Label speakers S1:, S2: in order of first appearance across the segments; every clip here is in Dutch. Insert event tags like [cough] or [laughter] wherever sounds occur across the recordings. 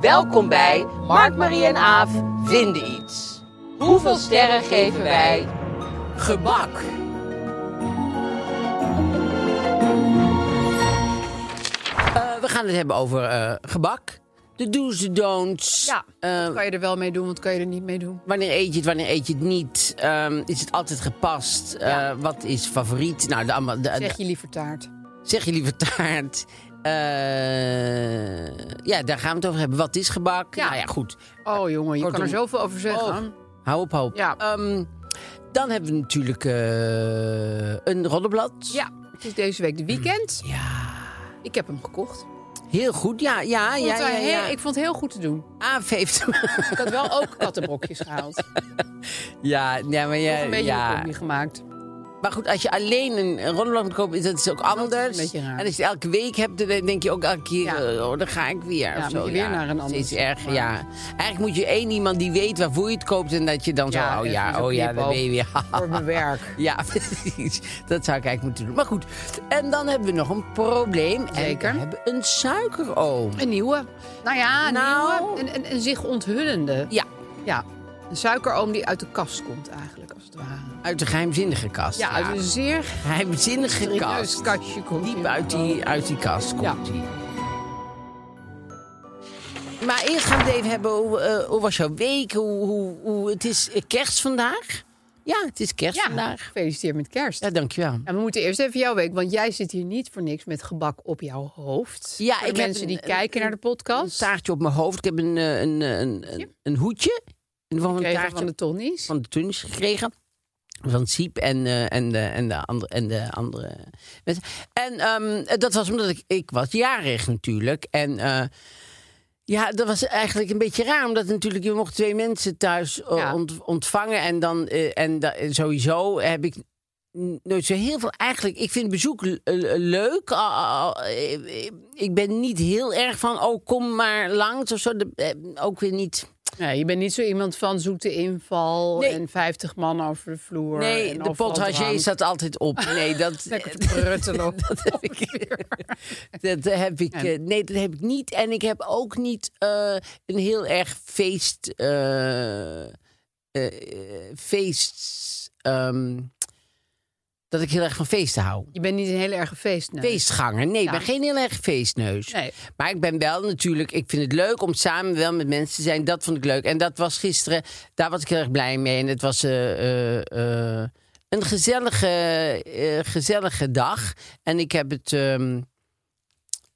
S1: Welkom bij Mark, Marie en Aaf vinden iets. Hoeveel sterren geven wij? Gebak. Eh, we gaan het hebben over eh, gebak. De do's, de don'ts.
S2: Ja,
S1: Eh,
S2: wat kan je er wel mee doen, wat kan je er niet mee doen?
S1: wanneer eet je het, wanneer eet je het niet? Ehm, is het altijd gepast? Eh, Wat is favoriet? Nou, de, allemaal- de,
S2: Zeg je liever taart.
S1: Zeg je liever taart. Eh, ja, daar gaan we het over hebben. Wat is gebak?
S2: Ja.
S1: Nou ja, goed.
S2: Oh jongen, je kan
S1: Kortom.
S2: er zoveel over zeggen.
S1: Oh, hou op, hou op.
S2: Ja.
S1: Ehm, dan hebben we natuurlijk eh, een roddelblad.
S2: Ja, het is deze week de weekend. Mm. Ja. Ik heb hem gekocht. Ik
S1: Heel goed, ja. ja,
S2: vond,
S1: ja,
S2: het,
S1: ja,
S2: eh, heel-
S1: ja.
S2: ik vond het heel goed te doen.
S1: Aaf heeft [laughs] hem.
S2: Ik had [laughs] wel ook kattenbrokjes gehaald.
S1: ja, ja, maar
S2: Nog
S1: ja,
S2: een beetje een
S1: ja.
S2: combi gemaakt.
S1: Maar goed, als je alleen een een roddelblad moet kopen, is dat is ook anders.
S2: beetje raar.
S1: En als je het elke week hebt, dan denk je ook elke keer,
S2: Ja.
S1: eh, oh, dan ga ik weer. of
S2: moet
S1: zo.
S2: je weer naar een ander.
S1: Steeds erger, ja. Eigenlijk moet je één iemand die weet waarvoor je het koopt en dat je dan zo, oh
S2: even
S1: ja,
S2: zo'n
S1: oh ja,
S2: knipoog
S1: dan ben je weer.
S2: [laughs]
S1: [laughs]
S2: Voor mijn werk.
S1: Ja, [laughs] precies. Dat zou ik eigenlijk moeten doen. Maar goed, en dan hebben we nog een probleem.
S2: Zeker.
S1: En we hebben een suikeroom.
S2: [laughs] Een nieuwe. Nou ja, een
S1: Nou.
S2: nieuwe. Een, een, een zich onthullende.
S1: Ja,
S2: Ja. Een suikeroom die uit de kast komt eigenlijk, als het ware.
S1: uit de geheimzinnige kast.
S2: Ja, uit een zeer
S1: geheimzinnige
S2: serieus
S1: kast.
S2: kastje komt
S1: Diep
S2: hij.
S1: uit die, uit die kast komt
S2: Ja.
S1: die. Maar eerst gaan we het even hebben, hoe, eh, hoe was jouw week? Hoe, hoe, hoe, het is eh, kerst vandaag. Ja, het is kerst
S2: Ja,
S1: vandaag.
S2: gefeliciteerd met kerst.
S1: Ja, dankjewel.
S2: En we moeten eerst even jouw week, want jij zit hier niet voor niks met gebak op jouw hoofd.
S1: Ja,
S2: voor de
S1: ik heb
S2: mensen die
S1: een-
S2: kijken naar de
S1: Een
S2: podcast.
S1: taartje op mijn hoofd. Ik heb een, eh, een, eh, een, een, een hoedje. En van een
S2: Kregen
S1: taartje
S2: van de Tonnies.
S1: van de Tunis gekregen. Van Siep en, eh, en, de, en, de andere, en de andere mensen. En ehm, dat was omdat ik, ik was jarig natuurlijk. En eh, ja, dat was eigenlijk een beetje raar. Omdat natuurlijk, je mocht twee mensen thuis eh,
S2: Ja.
S1: ont- ontvangen. En, dan, eh, en da- en sowieso heb ik n- nooit zo heel veel... Eigenlijk, ik vind bezoek l- eh, leuk. Al- al- al- eh, ik ben niet heel erg van, oh, kom maar langs of zo. De- eh, ook weer niet...
S2: Nee, je bent niet zo iemand van zoete inval
S1: Nee.
S2: en 50 man over de vloer.
S1: Nee,
S2: en
S1: de
S2: overal
S1: potager
S2: drank.
S1: staat altijd op. [laughs] Nee, dat,
S2: Lekker te pruttelen.
S1: [laughs] dat heb ik. Dat heb ik eh, nee, dat heb ik niet. En ik heb ook niet eh, een heel erg feest. eh, eh, feest. ehm, dat ik heel erg van feesten hou.
S2: Je bent niet een hele erge feestneus.
S1: Feestganger. Nee, ik ben geen heel erg feestneus.
S2: Nee.
S1: Maar ik ben wel natuurlijk, ik vind het leuk om samen wel met mensen te zijn. Dat vond ik leuk. En dat was gisteren, daar was ik heel erg blij mee. En het was eh, eh, eh, een gezellige, eh, gezellige dag. En ik heb het. ehm,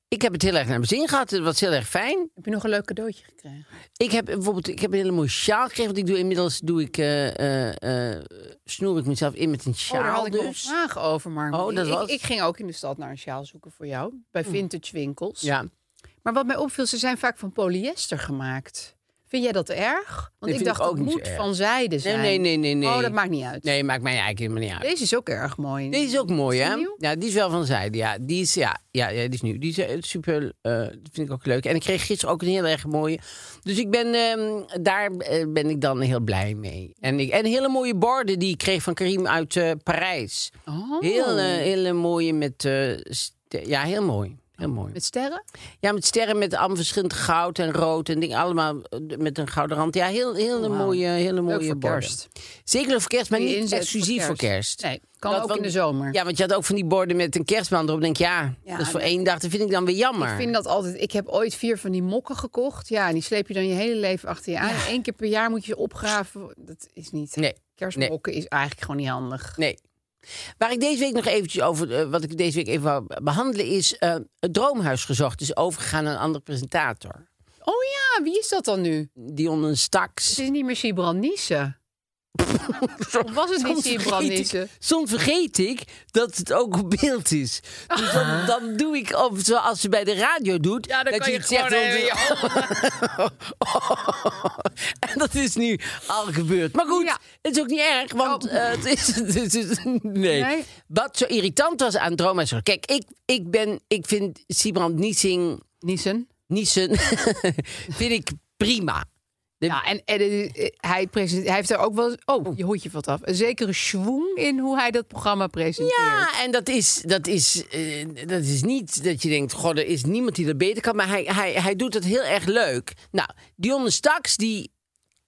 S1: ik heb het heel erg naar mijn zin gehad. Het was heel erg fijn.
S2: Heb je nog een leuk cadeautje gekregen?
S1: Ik heb bijvoorbeeld ik heb een hele mooie sjaal gekregen. Want ik doe inmiddels doe ik, eh, eh, eh, snoer ik mezelf in met een sjaal.
S2: oh, daar had ik nog een
S1: dus.
S2: vraag over, maar
S1: Oh, dat
S2: ik,
S1: was- Hm.
S2: ik, ik ging ook in de stad naar een sjaal zoeken voor jou. Bij vintage winkels.
S1: Ja.
S2: Maar wat mij opviel, ze zijn vaak van polyester gemaakt. Vind jij dat erg? Want
S1: vind
S2: ik
S1: ik
S2: dacht,
S1: ook
S2: het
S1: niet zo
S2: moet
S1: erg.
S2: van zijde
S1: Nee,
S2: zijn.
S1: nee, nee, nee, nee.
S2: Oh, dat maakt niet uit.
S1: Nee, maakt mij eigenlijk helemaal niet uit.
S2: Deze is ook erg mooi.
S1: Deze is ook mooi,
S2: die
S1: hè?
S2: nieuw?
S1: Ja, die is wel van zijde. Ja, die is, ja, ja, ja, die is nieuw. Die is eh, super, eh, dat vind ik ook leuk. En ik kreeg gisteren ook een heel erg mooie. Dus ik ben, ehm, daar eh, ben ik dan heel blij mee. En, ik, en hele mooie borden die ik kreeg van Karim uit eh, Parijs.
S2: Oh.
S1: Heel, eh, hele mooie met... eh, st- ja, heel mooi. Heel mooi.
S2: Met sterren?
S1: Ja, met sterren met allemaal verschillend goud en rood en dingen. Allemaal eh, met een gouden rand. Ja, heel, heel een
S2: Wauw.
S1: mooie, hele mooie
S2: voor
S1: borden.
S2: kerst.
S1: Zeker voor kerst, maar
S2: Die
S1: niet
S2: inzet voor
S1: exclusief voor kerst.
S2: kerst. Nee, kan ook
S1: want-
S2: in de zomer.
S1: Ja, want je had ook van die borden met een kerstman erop. Denk ik, ja,
S2: Ja,
S1: dat is voor
S2: dat-
S1: één dag. Dat vind ik dan weer jammer.
S2: Ik vind dat altijd. Ik heb ooit vier van die mokken gekocht. Ja, en die sleep je dan je hele leven achter je aan. Eén keer per jaar moet je ze opgraven. Dat is niet.
S1: Nee,
S2: Kerstmokken is eigenlijk gewoon niet handig.
S1: Nee. Waar ik deze week nog eventjes over, eh, wat ik deze week even wou behandelen, is eh, het Droomhuis gezocht. Is overgegaan naar een andere presentator.
S2: Oh ja, wie is dat dan nu?
S1: Dion een
S2: Het
S1: Staks.
S2: is niet meer Sibran
S1: [laughs]
S2: Nissen. Of was het niet
S1: Soms
S2: Sibran
S1: vergeet,
S2: Nissen?
S1: ik, soms vergeet ik dat het ook op beeld is. Dus dan,
S2: Ah.
S1: dan doe ik, of zoals ze bij de radio doet, dat je eh, Oh, het zegt.
S2: eh,
S1: dan- [laughs] en dat is nu al gebeurd. Maar goed,
S2: Ja.
S1: het is ook niet erg, want
S2: Oh.
S1: eh, het is... [laughs] het is- nee.
S2: Nee.
S1: Wat zo irritant was aan Droomhuis... Kijk, ik, ik, ben, ik vind Sibrand Niesing...
S2: Nissen.
S1: Niesen [laughs] vind ik prima.
S2: Ja, en, en eh, eh, hij, present- hij heeft er ook wel. eens- Oh, je hoedje valt af. Een zekere schwung in hoe hij dat programma presenteert.
S1: Ja, en dat is, dat, is, eh, dat is niet dat je denkt... God, er is niemand die dat beter kan. Maar hij, hij, hij doet het heel erg leuk. Nou, Dionne Staks, die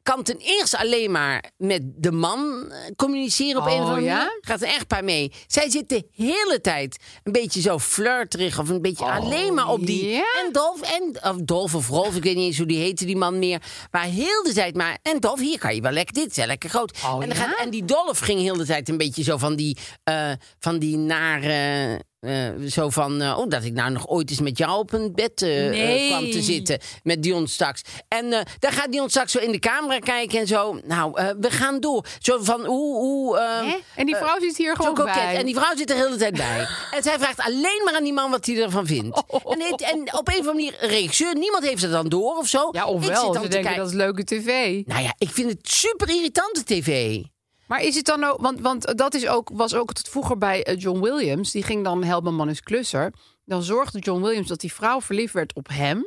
S1: kan ten eerste alleen maar met de man eh, communiceren op een
S2: Oh,
S1: of andere
S2: ja?
S1: manier. Gaat een echtpaar mee. Zij zit de hele tijd een beetje zo flirterig of een beetje alleen maar op die...
S2: Oh, ja?
S1: En Dolf, en, of Dolf of Rolf, ik weet niet eens hoe die heette die man meer. Maar heel de tijd maar... En Dolf, hier kan je wel lekker dit, is wel lekker groot. en, dan
S2: Oh, ja?
S1: gaat, en die Dolf ging heel de tijd een beetje zo van die, eh, van die nare... eh, zo van, eh, oh, dat ik nou nog ooit eens met jou op een bed eh, eh,
S2: Nee.
S1: kwam te zitten. Met Dion straks. En eh daar gaat Dion straks zo in de camera kijken en zo. Nou, eh, we gaan door. Zo van, hoe... hoe eh,
S2: Hè? En die vrouw zit hier
S1: zo
S2: gewoon
S1: koket.
S2: bij.
S1: En die vrouw zit er de hele tijd
S2: [laughs]
S1: bij. en zij vraagt alleen maar aan die man wat hij ervan vindt.
S2: Oh.
S1: En, dit- en op een of andere manier, een regisseur, niemand heeft het dan door of zo.
S2: Ja,
S1: Ik zit
S2: ofwel.
S1: dan
S2: Ze
S1: te
S2: denken
S1: kijken-
S2: dat is leuke tv.
S1: Nou ja, ik vind het super irritante tv.
S2: Maar is het dan ook, want, want dat is ook, was ook het vroeger bij eh, John Williams. Die ging dan helpen man is klusser. Dan zorgde John Williams dat die vrouw verliefd werd op hem.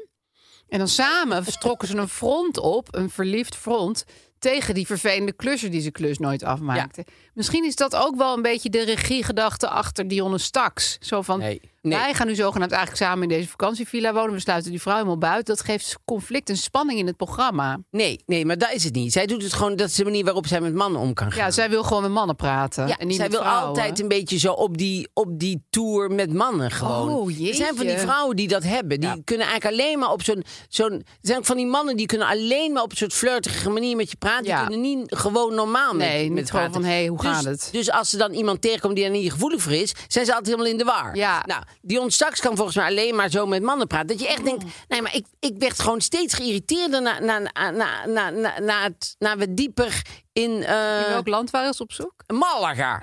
S2: En dan samen trokken ze een front op, een verliefd front... tegen die vervelende klusser die ze klus nooit afmaakte. Misschien is dat ook wel een beetje de regiegedachte achter Dionne Staks. Zo van,
S1: Nee, nee.
S2: wij gaan nu zogenaamd eigenlijk samen in deze vakantievilla wonen. We sluiten die vrouw helemaal buiten. Dat geeft conflict en spanning in het programma.
S1: Nee, nee, maar dat is het niet. Zij doet het gewoon, dat is de manier waarop zij met mannen om kan gaan.
S2: Ja, zij wil gewoon met mannen praten.
S1: Ja,
S2: en niet
S1: zij
S2: met
S1: wil
S2: vrouwen.
S1: altijd een beetje zo op die, op die tour met mannen gewoon.
S2: Oh,
S1: er zijn van die
S2: jeetje.
S1: vrouwen die dat hebben. Die kunnen eigenlijk alleen maar op zo'n... zo'n er zijn ook van die mannen die kunnen alleen maar op een soort flirtige manier met je praten.
S2: Ja.
S1: Die kunnen niet gewoon normaal met
S2: Nee,
S1: met
S2: niet gewoon
S1: praten.
S2: van, hé, hoe
S1: dus,
S2: gaat het?
S1: Dus als ze dan iemand tegenkomt die er niet gevoelig voor is, zijn ze altijd helemaal in de war.
S2: Ja.
S1: Nou, Dion Staks kan volgens mij alleen maar zo met mannen praten. Dat je
S2: Oh.
S1: echt denkt, nee, maar ik, ik werd gewoon steeds geïrriteerder na, na, na, na, na, na, na het, na we dieper in... eh,
S2: In welk land waren ze op zoek?
S1: Malaga.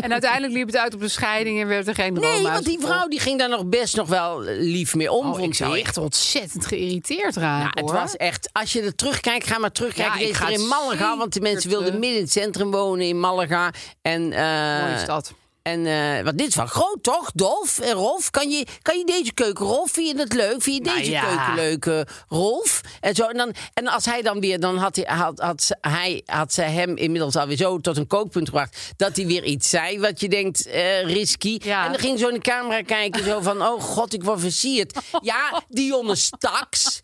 S2: En uiteindelijk liep het uit op een scheiding en werd er geen drama.
S1: Nee, want die vrouw die ging daar nog best nog wel eh, lief mee om.
S2: Oh, ik
S1: vond
S2: zou
S1: ik.
S2: echt ontzettend geïrriteerd raken.
S1: Ja, het
S2: hoor.
S1: was echt. Als je er terugkijkt, ga maar terugkijken.
S2: Ja,
S1: Ja,
S2: ik
S1: ik
S2: ga
S1: in Malaga,
S2: zeker
S1: want de mensen wilden
S2: terug.
S1: midden in het centrum wonen in Malaga. En, eh,
S2: Mooie stad.
S1: En eh, wat dit is wel groot, toch? Dolf en Rolf, kan je, kan je deze keuken, Rolf, vind je dat leuk? Vind je
S2: Nou
S1: deze
S2: ja.
S1: keuken leuk, eh, Rolf? En, zo, en, dan, en als hij dan weer, dan had, hij, had, had, ze- hij, had ze hem inmiddels alweer zo tot een kookpunt gebracht... dat hij weer iets zei wat je denkt, eh, risky.
S2: Ja.
S1: En dan ging zo in de camera kijken, zo van, oh god, ik word versierd. Ja, Dionne Staks.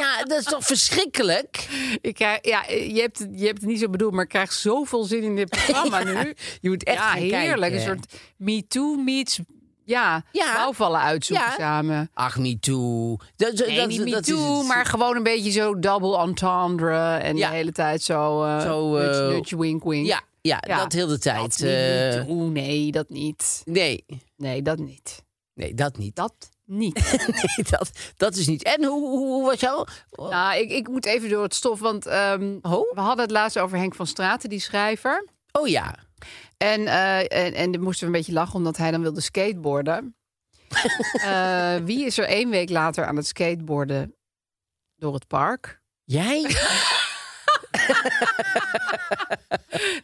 S1: Ja, dat is toch verschrikkelijk?
S2: Ik, krijg- ja, eh, je, hebt het, je hebt het niet zo bedoeld, maar ik krijg zoveel zin
S1: [laughs]
S2: in dit programma nu.
S1: je moet echt
S2: ja,
S1: gaan kijken.
S2: heerlijk. Een soort Me Too meets ja,
S1: Ja.
S2: bouwvallen uitzoeken
S1: Ja.
S2: samen.
S1: Ach, me too. Dat,
S2: Nee,
S1: dat-
S2: niet
S1: dat
S2: Me
S1: is
S2: Too,
S1: het.
S2: maar gewoon een beetje zo double entendre. En
S1: Ja.
S2: de hele tijd zo, eh
S1: Zo, eh,
S2: nudge, nudge, wink, wink.
S1: Ja, ja,
S2: Ja,
S1: dat heel de tijd.
S2: Dat niet, Me
S1: eh,
S2: Too, nee, dat niet.
S1: nee,
S2: Nee, dat niet.
S1: nee, dat [laughs] niet.
S2: Dat niet.
S1: Nee, dat, dat is niet. En hoe, hoe, hoe was jouw...
S2: Nou, ik, ik moet even door het stof, want ehm,
S1: Oh?
S2: we hadden het laatst over Henk van Straten, die schrijver.
S1: Oh ja.
S2: En, eh, en, en dan moesten we een beetje lachen, omdat hij dan wilde [laughs] skateboarden. Eh, wie is er één week
S1: [laughs]
S2: later aan het skateboarden door het park?
S1: Jij?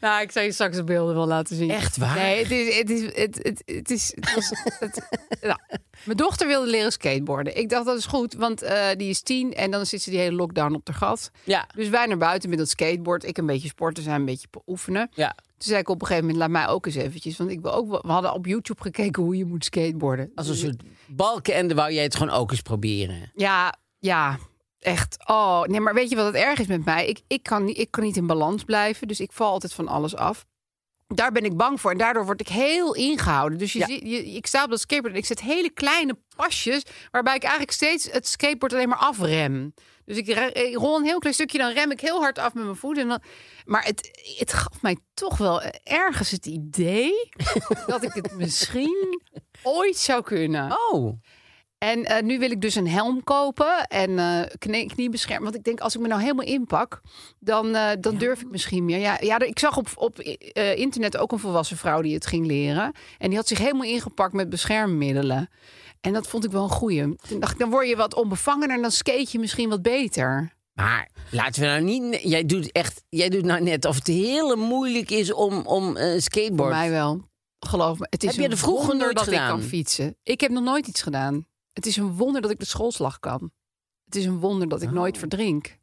S2: Nou, ik zal je straks de beelden wel laten zien.
S1: Echt waar?
S2: Nee, het is... Het is, het, het, het is, het was- het- [laughs] nou, Mijn dochter wilde leren skateboarden. Ik dacht, dat is goed, want eh, die is tien... en dan zit ze die hele lockdown op de gat.
S1: Ja.
S2: Dus wij naar buiten met dat skateboard. Ik een beetje sporten zijn, een beetje oefenen.
S1: Ja.
S2: Toen zei ik op een gegeven moment, laat mij ook eens eventjes. Want ik wil ook, wel- we hadden op YouTube gekeken hoe je moet skateboarden. Dus
S1: Als een soort balken en dan wou jij het gewoon ook eens proberen.
S2: Ja, ja, echt. Oh, nee, maar weet je wat het erg is met mij? Ik, ik, kan, niet, ik kan niet in balans blijven, dus ik val altijd van alles af. Daar ben ik bang voor en daardoor word ik heel ingehouden. Dus je
S1: Ja.
S2: ziet, je, ik sta op dat skateboard en ik zet hele kleine pasjes... waarbij ik eigenlijk steeds het skateboard alleen maar afrem. Dus ik, re- ik rol een heel klein stukje, dan rem ik heel hard af met mijn voet. En dan, maar het, het gaf mij toch wel ergens het
S1: [laughs]
S2: idee... dat ik het misschien ooit zou kunnen.
S1: Oh.
S2: En eh, nu wil ik dus een helm kopen en eh, knie, kniebescherming. Want ik denk, als ik me nou helemaal inpak, dan, eh, dan durf ik misschien meer. Ja, ja, ik zag op, op eh, internet ook een volwassen vrouw die het ging leren. En die had zich helemaal ingepakt met beschermmiddelen. En dat vond ik wel een goeie. Toen dacht ik, dan word je wat onbevangener en dan skate je misschien wat beter.
S1: Maar laten we nou niet... Jij doet, echt, jij doet nou net of het heel moeilijk is om, om eh,
S2: Voor
S1: skateboard...
S2: mij wel. Geloof me. Het is
S1: Heb je
S2: een
S1: er vroeger
S2: wonder
S1: nooit
S2: dat
S1: gedaan?
S2: ik kan fietsen. Ik heb nog nooit iets gedaan. Het is een wonder dat ik de schoolslag kan. Het is een wonder
S1: Oh.
S2: dat ik nooit verdrink.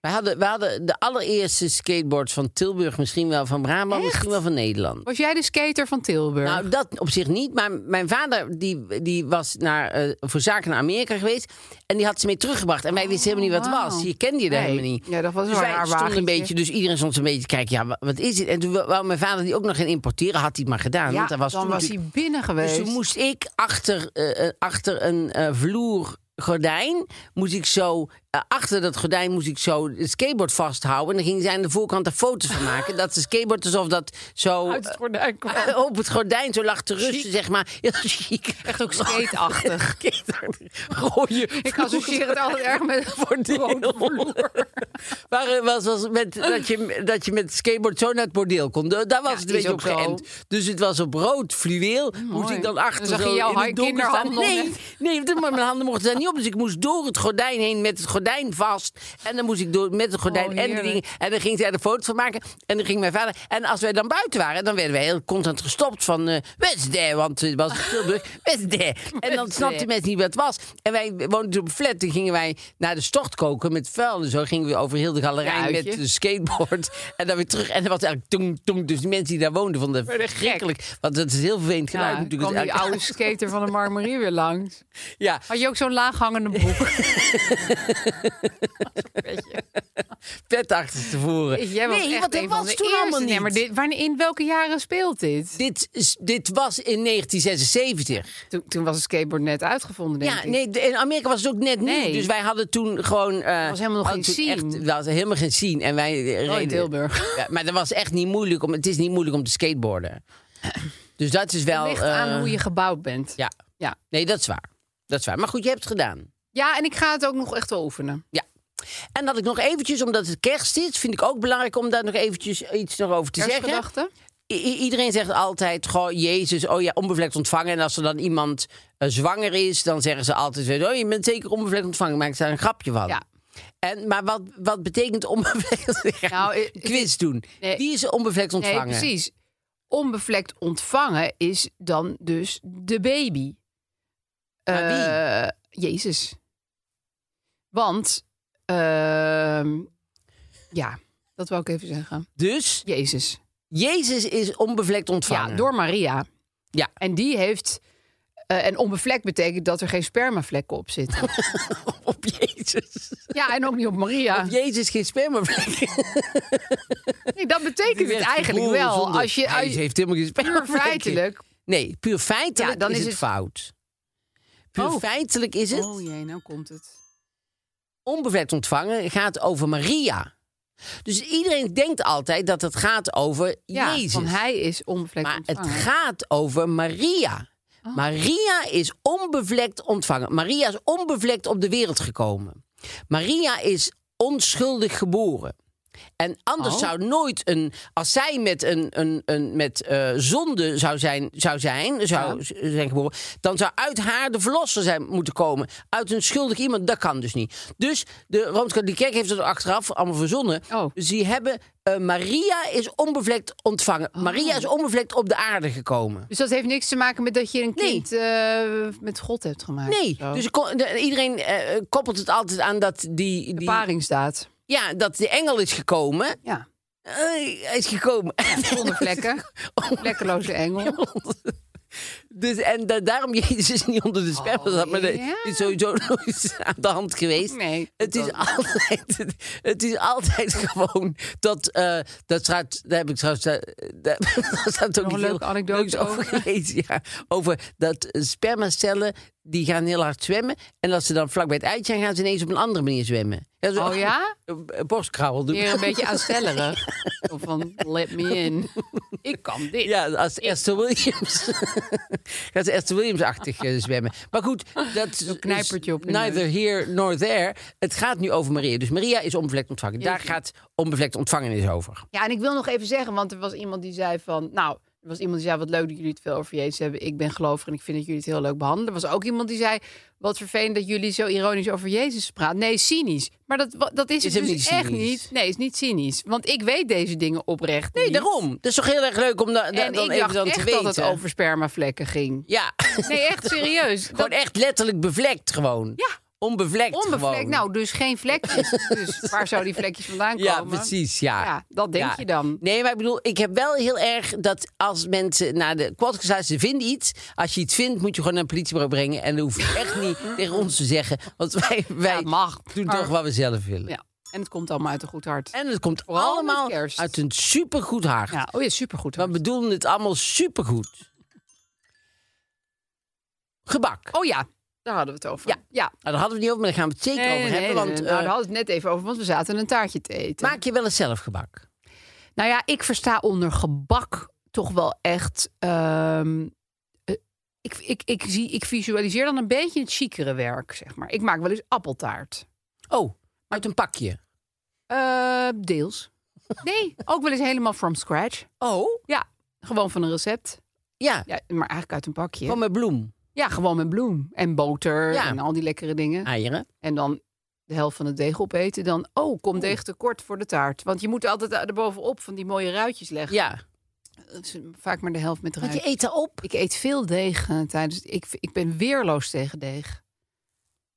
S1: Wij hadden, wij hadden de allereerste skateboards van Tilburg, misschien wel van Brabant,
S2: Echt?
S1: misschien wel van Nederland.
S2: Was jij de skater van Tilburg?
S1: Nou, dat op zich niet. Maar mijn vader die, die was naar, eh, voor zaken naar Amerika geweest. En die had ze mee teruggebracht. En wij wisten helemaal niet wat het
S2: Oh, wauw.
S1: was. Je kende je daar
S2: Nee.
S1: helemaal niet.
S2: Ja, dat was
S1: dus
S2: wel
S1: wij
S2: een raar
S1: stonden een
S2: wagentje.
S1: beetje, Dus iedereen stond een beetje te kijken. Ja, wa- wat is dit? En toen wou- wou mijn vader die ook nog gaan importeren. Had hij het maar gedaan.
S2: ja,
S1: want hij was
S2: dan
S1: toen
S2: was
S1: natuurlijk-
S2: hij binnen geweest.
S1: dus toen moest ik achter, eh, eh, achter een eh vloergordijn, moest ik zo, eh, achter dat gordijn moest ik zo het skateboard vasthouden. En dan ging zij aan de voorkant er foto's van maken. [laughs] dat de skateboard alsof dat zo
S2: uit het
S1: [laughs]
S2: gordijn kwam.
S1: eh, op het gordijn zo lag te rusten, zeg maar. Heel chic.
S2: Echt ook
S1: [laughs]
S2: skateachtig.
S1: Skateachtig. Rode
S2: Ik
S1: [laughs]
S2: associeer het altijd erg met
S1: bordeel. [laughs] Waar eh, was, was met, dat, je, dat je met skateboard zo naar het bordeel kon. Da- Daar was
S2: Ja,
S1: het
S2: die
S1: een
S2: is
S1: beetje op
S2: ook zo.
S1: geënt. Dus het was op rood fluweel. moest ik dan achter
S2: Dan zag je
S1: zo
S2: jouw
S1: in het donker
S2: kinderhanden
S1: staan.
S2: nog
S1: Nee,
S2: net.
S1: nee want mijn handen mochten daar niet op. Dus ik moest door het gordijn heen met het gordijn vast. En dan moest ik door met het gordijn
S2: Oh,
S1: en de dingen.
S2: heerlijk.
S1: En dan ging zij er foto's van maken. En dan ging mijn vader. En als wij dan buiten waren, dan werden wij heel constant gestopt van. eh West there, want het was in Tilburg. West there.
S2: [laughs]
S1: En dan
S2: West
S1: snapten
S2: there.
S1: mensen niet wat het was. En wij woonden toen op een flat. Toen gingen wij naar de stort koken met vuil. En zo gingen we over heel de galerij
S2: Uitje.
S1: met een skateboard. [laughs] En dan weer terug. En dat was eigenlijk toen, toen. Dus die mensen die daar woonden vonden het
S2: Werden gek.
S1: verschrikkelijk. Want het is heel vervelend geluid.
S2: Ja,
S1: natuurlijk.
S2: kwam die
S1: Het-
S2: oude skater van de Marmarie weer langs.
S1: [laughs] ja.
S2: Had je ook zo'n
S1: [laughs]
S2: laaghangende broek? Beetje.
S1: pet achter tevoren.
S2: [laughs] Jij was
S1: nee,
S2: echt
S1: want dat
S2: een
S1: was
S2: van de
S1: toen
S2: eerste.
S1: allemaal niet.
S2: Nee, maar dit, wanneer, in welke jaren speelt dit?
S1: dit, is- dit was in 1976.
S2: Toen, toen was het skateboard net uitgevonden, denk
S1: Ja,
S2: ik.
S1: nee, de- in Amerika was het ook net
S2: Nee.
S1: niet. Dus wij hadden toen gewoon... eh,
S2: was helemaal nog
S1: hadden
S2: geen
S1: toen
S2: scene.
S1: Echt, we hadden helemaal geen zien. En wij eh,
S2: in
S1: reden... [laughs]
S2: Tilburg.
S1: Ja, maar dat was echt niet moeilijk. Om, het is niet moeilijk om te
S2: [clears throat]
S1: skateboarden. Dus dat is wel...
S2: Het ligt
S1: eh,
S2: aan hoe je gebouwd bent.
S1: Ja.
S2: Ja.
S1: Nee, dat is waar. Dat is waar. Maar goed, je hebt het gedaan.
S2: ja, en ik ga het ook nog echt wel oefenen.
S1: Ja. En dat ik nog eventjes, omdat het kerst is... vind ik ook belangrijk om daar nog eventjes iets nog over te zeggen.
S2: Kerstgedachten?
S1: I- i- iedereen zegt altijd, goh, Jezus, oh ja, onbevlekt ontvangen. En als er dan iemand eh, zwanger is, dan zeggen ze altijd, weer, oh, je bent zeker onbevlekt ontvangen. Maak daar een grapje van.
S2: Ja.
S1: En, maar wat, wat betekent onbevlekt? [laughs]
S2: Nou,
S1: Nou,
S2: ik-
S1: quiz doen.
S2: Nee.
S1: Wie is onbevlekt ontvangen?
S2: Nee, precies. Onbevlekt ontvangen is dan dus de baby.
S1: Maar wie?
S2: Eh, Jezus. Want, ehm, ja, dat wou ik even zeggen.
S1: Dus
S2: Jezus.
S1: Jezus is onbevlekt ontvangen.
S2: Ja, door Maria.
S1: Ja.
S2: En die heeft. eh, en onbevlekt betekent dat er geen spermavlekken op
S1: [laughs]
S2: zitten.
S1: op Jezus.
S2: ja, en ook niet op Maria.
S1: Op Jezus geen
S2: [laughs]
S1: spermavlek.
S2: Nee, dat betekent het eigenlijk
S1: Geboren
S2: wel.
S1: zonder-
S2: Als je, als
S1: Jezus
S2: je
S1: heeft helemaal geen
S2: puur
S1: spermavlek.
S2: feitelijk.
S1: Nee, puur feitelijk
S2: Ja, dan
S1: is,
S2: is
S1: het
S2: het-
S1: fout. Puur
S2: Oh.
S1: feitelijk is het.
S2: Oh jee, nou komt het.
S1: onbevlekt ontvangen gaat over Maria. Dus iedereen denkt altijd dat het gaat over
S2: Ja,
S1: Jezus.
S2: want hij is onbevlekt
S1: maar het
S2: ontvangen. Oh.
S1: gaat over Maria. Maria is onbevlekt ontvangen. Maria is onbevlekt op de wereld gekomen. Maria is onschuldig geboren. En anders
S2: Oh.
S1: zou nooit een. Als zij met, een, een, een, met eh, zonde zou zijn, zou zijn, zou z- zijn geboren. dan zou uit haar de verlosser zijn moeten komen. Uit een schuldig iemand. Dat kan dus niet. Dus de Rooms-Katholieke Kerk heeft het achteraf allemaal verzonnen.
S2: Oh.
S1: Dus die hebben. eh, Maria is onbevlekt ontvangen.
S2: Oh.
S1: Maria is onbevlekt op de aarde gekomen.
S2: Dus dat heeft niks te maken met dat je een
S1: Nee.
S2: kind eh, met God hebt gemaakt. Oh.
S1: Nee,
S2: Zo.
S1: dus ko- de- iedereen eh, koppelt het altijd aan dat die,
S2: de
S1: die,
S2: paringsdaad.
S1: ja, dat die engel is gekomen.
S2: Ja.
S1: Eh, hij is gekomen. [laughs]
S2: Zonder vlekken.
S1: Oh.
S2: Vlekkeloze engel.
S1: Dus en da- daarom [laughs] Jezus is niet onder de sperma zat, maar dat
S2: Oh, ja.
S1: is sowieso [laughs] nooit aan de hand geweest.
S2: Nee,
S1: Het is,
S2: dat-
S1: altijd, [laughs] het is altijd [laughs] gewoon dat. eh dat staat, daar heb ik trouwens. eh, Daar, [laughs] daar staat ook
S2: Nog een
S1: iets
S2: leuke
S1: heel
S2: anekdote
S1: leuks [laughs] over
S2: over.
S1: gelezen. Ja, over dat eh, spermacellen. die gaan heel hard zwemmen. En als ze dan vlak bij het eitje zijn, gaan ze ineens op een andere manier zwemmen. zo-
S2: Oh
S1: [laughs]
S2: ja?
S1: Eh, Borstkrabbel doen.
S2: Weer een
S1: [laughs]
S2: beetje aanstellerig. Zo van, let me in. Ik kan dit.
S1: Ja, als Esther Williams. [laughs] Gaat ze Esther Williams-achtig eh, zwemmen. Maar
S2: [laughs]
S1: goed, dat is
S2: knijpertje op je
S1: neither here nor there. Het gaat nu over Maria. Dus Maria is onbevlekt ontvangen. Daar gaat onbevlekt ontvangenis over.
S2: Ja, en ik wil nog even zeggen, want er was iemand die zei van... Nou, er was iemand die zei, wat leuk dat jullie het veel over Jezus hebben. Ik ben gelovig en ik vind dat jullie het heel leuk behandelen. Er was ook iemand die zei, wat vervelend dat jullie zo ironisch over Jezus praten. Nee, cynisch. Maar dat, wa- dat is,
S1: Is
S2: het
S1: hem
S2: dus
S1: niet
S2: echt
S1: cynisch?
S2: niet. Nee, is niet cynisch. Want ik weet deze dingen oprecht
S1: Nee,
S2: niet.
S1: daarom. Dat is toch heel erg leuk om da- da-
S2: En
S1: dan
S2: ik
S1: even
S2: dacht
S1: dan te
S2: echt
S1: weten.
S2: dat het over spermavlekken ging. [laughs]
S1: Ja, [laughs]
S2: Nee, echt serieus.
S1: gewoon
S2: Dat-
S1: echt letterlijk bevlekt gewoon.
S2: Ja.
S1: Onbevlekt,
S2: Onbevlekt.
S1: gewoon.
S2: Nou, dus geen vlekjes. dus waar zou die vlekjes vandaan
S1: ja,
S2: komen?
S1: precies, ja.
S2: Ja, dat denk
S1: Ja.
S2: je dan.
S1: Nee, maar ik bedoel, ik heb wel heel erg dat als mensen naar de podcast gaan, ze vinden iets. Als je iets vindt, moet je gewoon naar het politiebureau brengen. En dan hoef je echt niet
S2: [laughs]
S1: tegen ons te zeggen. Want wij, wij
S2: het mag,
S1: doen
S2: maar-
S1: toch wat we zelf willen.
S2: Ja. En het komt allemaal uit een goed hart.
S1: En het komt
S2: Vooral met
S1: allemaal
S2: kerst.
S1: uit een supergoed hart.
S2: Ja, oh ja, supergoed.
S1: We bedoelen het allemaal supergoed. Gebak.
S2: Oh ja, daar hadden we het over.
S1: Ja.
S2: ja.
S1: Nou, daar hadden we het niet over, maar daar gaan we het zeker
S2: Nee,
S1: over
S2: nee,
S1: hebben.
S2: nee,
S1: want
S2: nee. Nou,
S1: eh,
S2: daar hadden we het net even over, want we zaten een taartje te eten.
S1: maak je wel eens zelf gebak?
S2: Nou ja, ik versta onder gebak toch wel echt... ehm, eh, ik, ik, ik, zie, ik visualiseer dan een beetje het chicere werk, zeg maar. Ik maak wel eens appeltaart.
S1: Oh, uit een pakje.
S2: Eh, deels. Nee, ook wel eens helemaal from scratch.
S1: Oh?
S2: Ja, gewoon van een recept.
S1: Ja,
S2: Ja, maar eigenlijk uit een pakje.
S1: van mijn bloem.
S2: Ja, gewoon met bloem en boter
S1: Ja.
S2: en al die lekkere dingen.
S1: Eieren.
S2: En dan de helft van het deeg opeten. Dan, oh, komt deeg tekort voor de taart. Want je moet altijd erbovenop van die mooie ruitjes leggen.
S1: Ja.
S2: Dat is Vaak maar de helft met
S1: Want
S2: ruit.
S1: je eet er op.
S2: Ik eet veel deeg eh, tijdens... Ik, ik ben weerloos tegen deeg.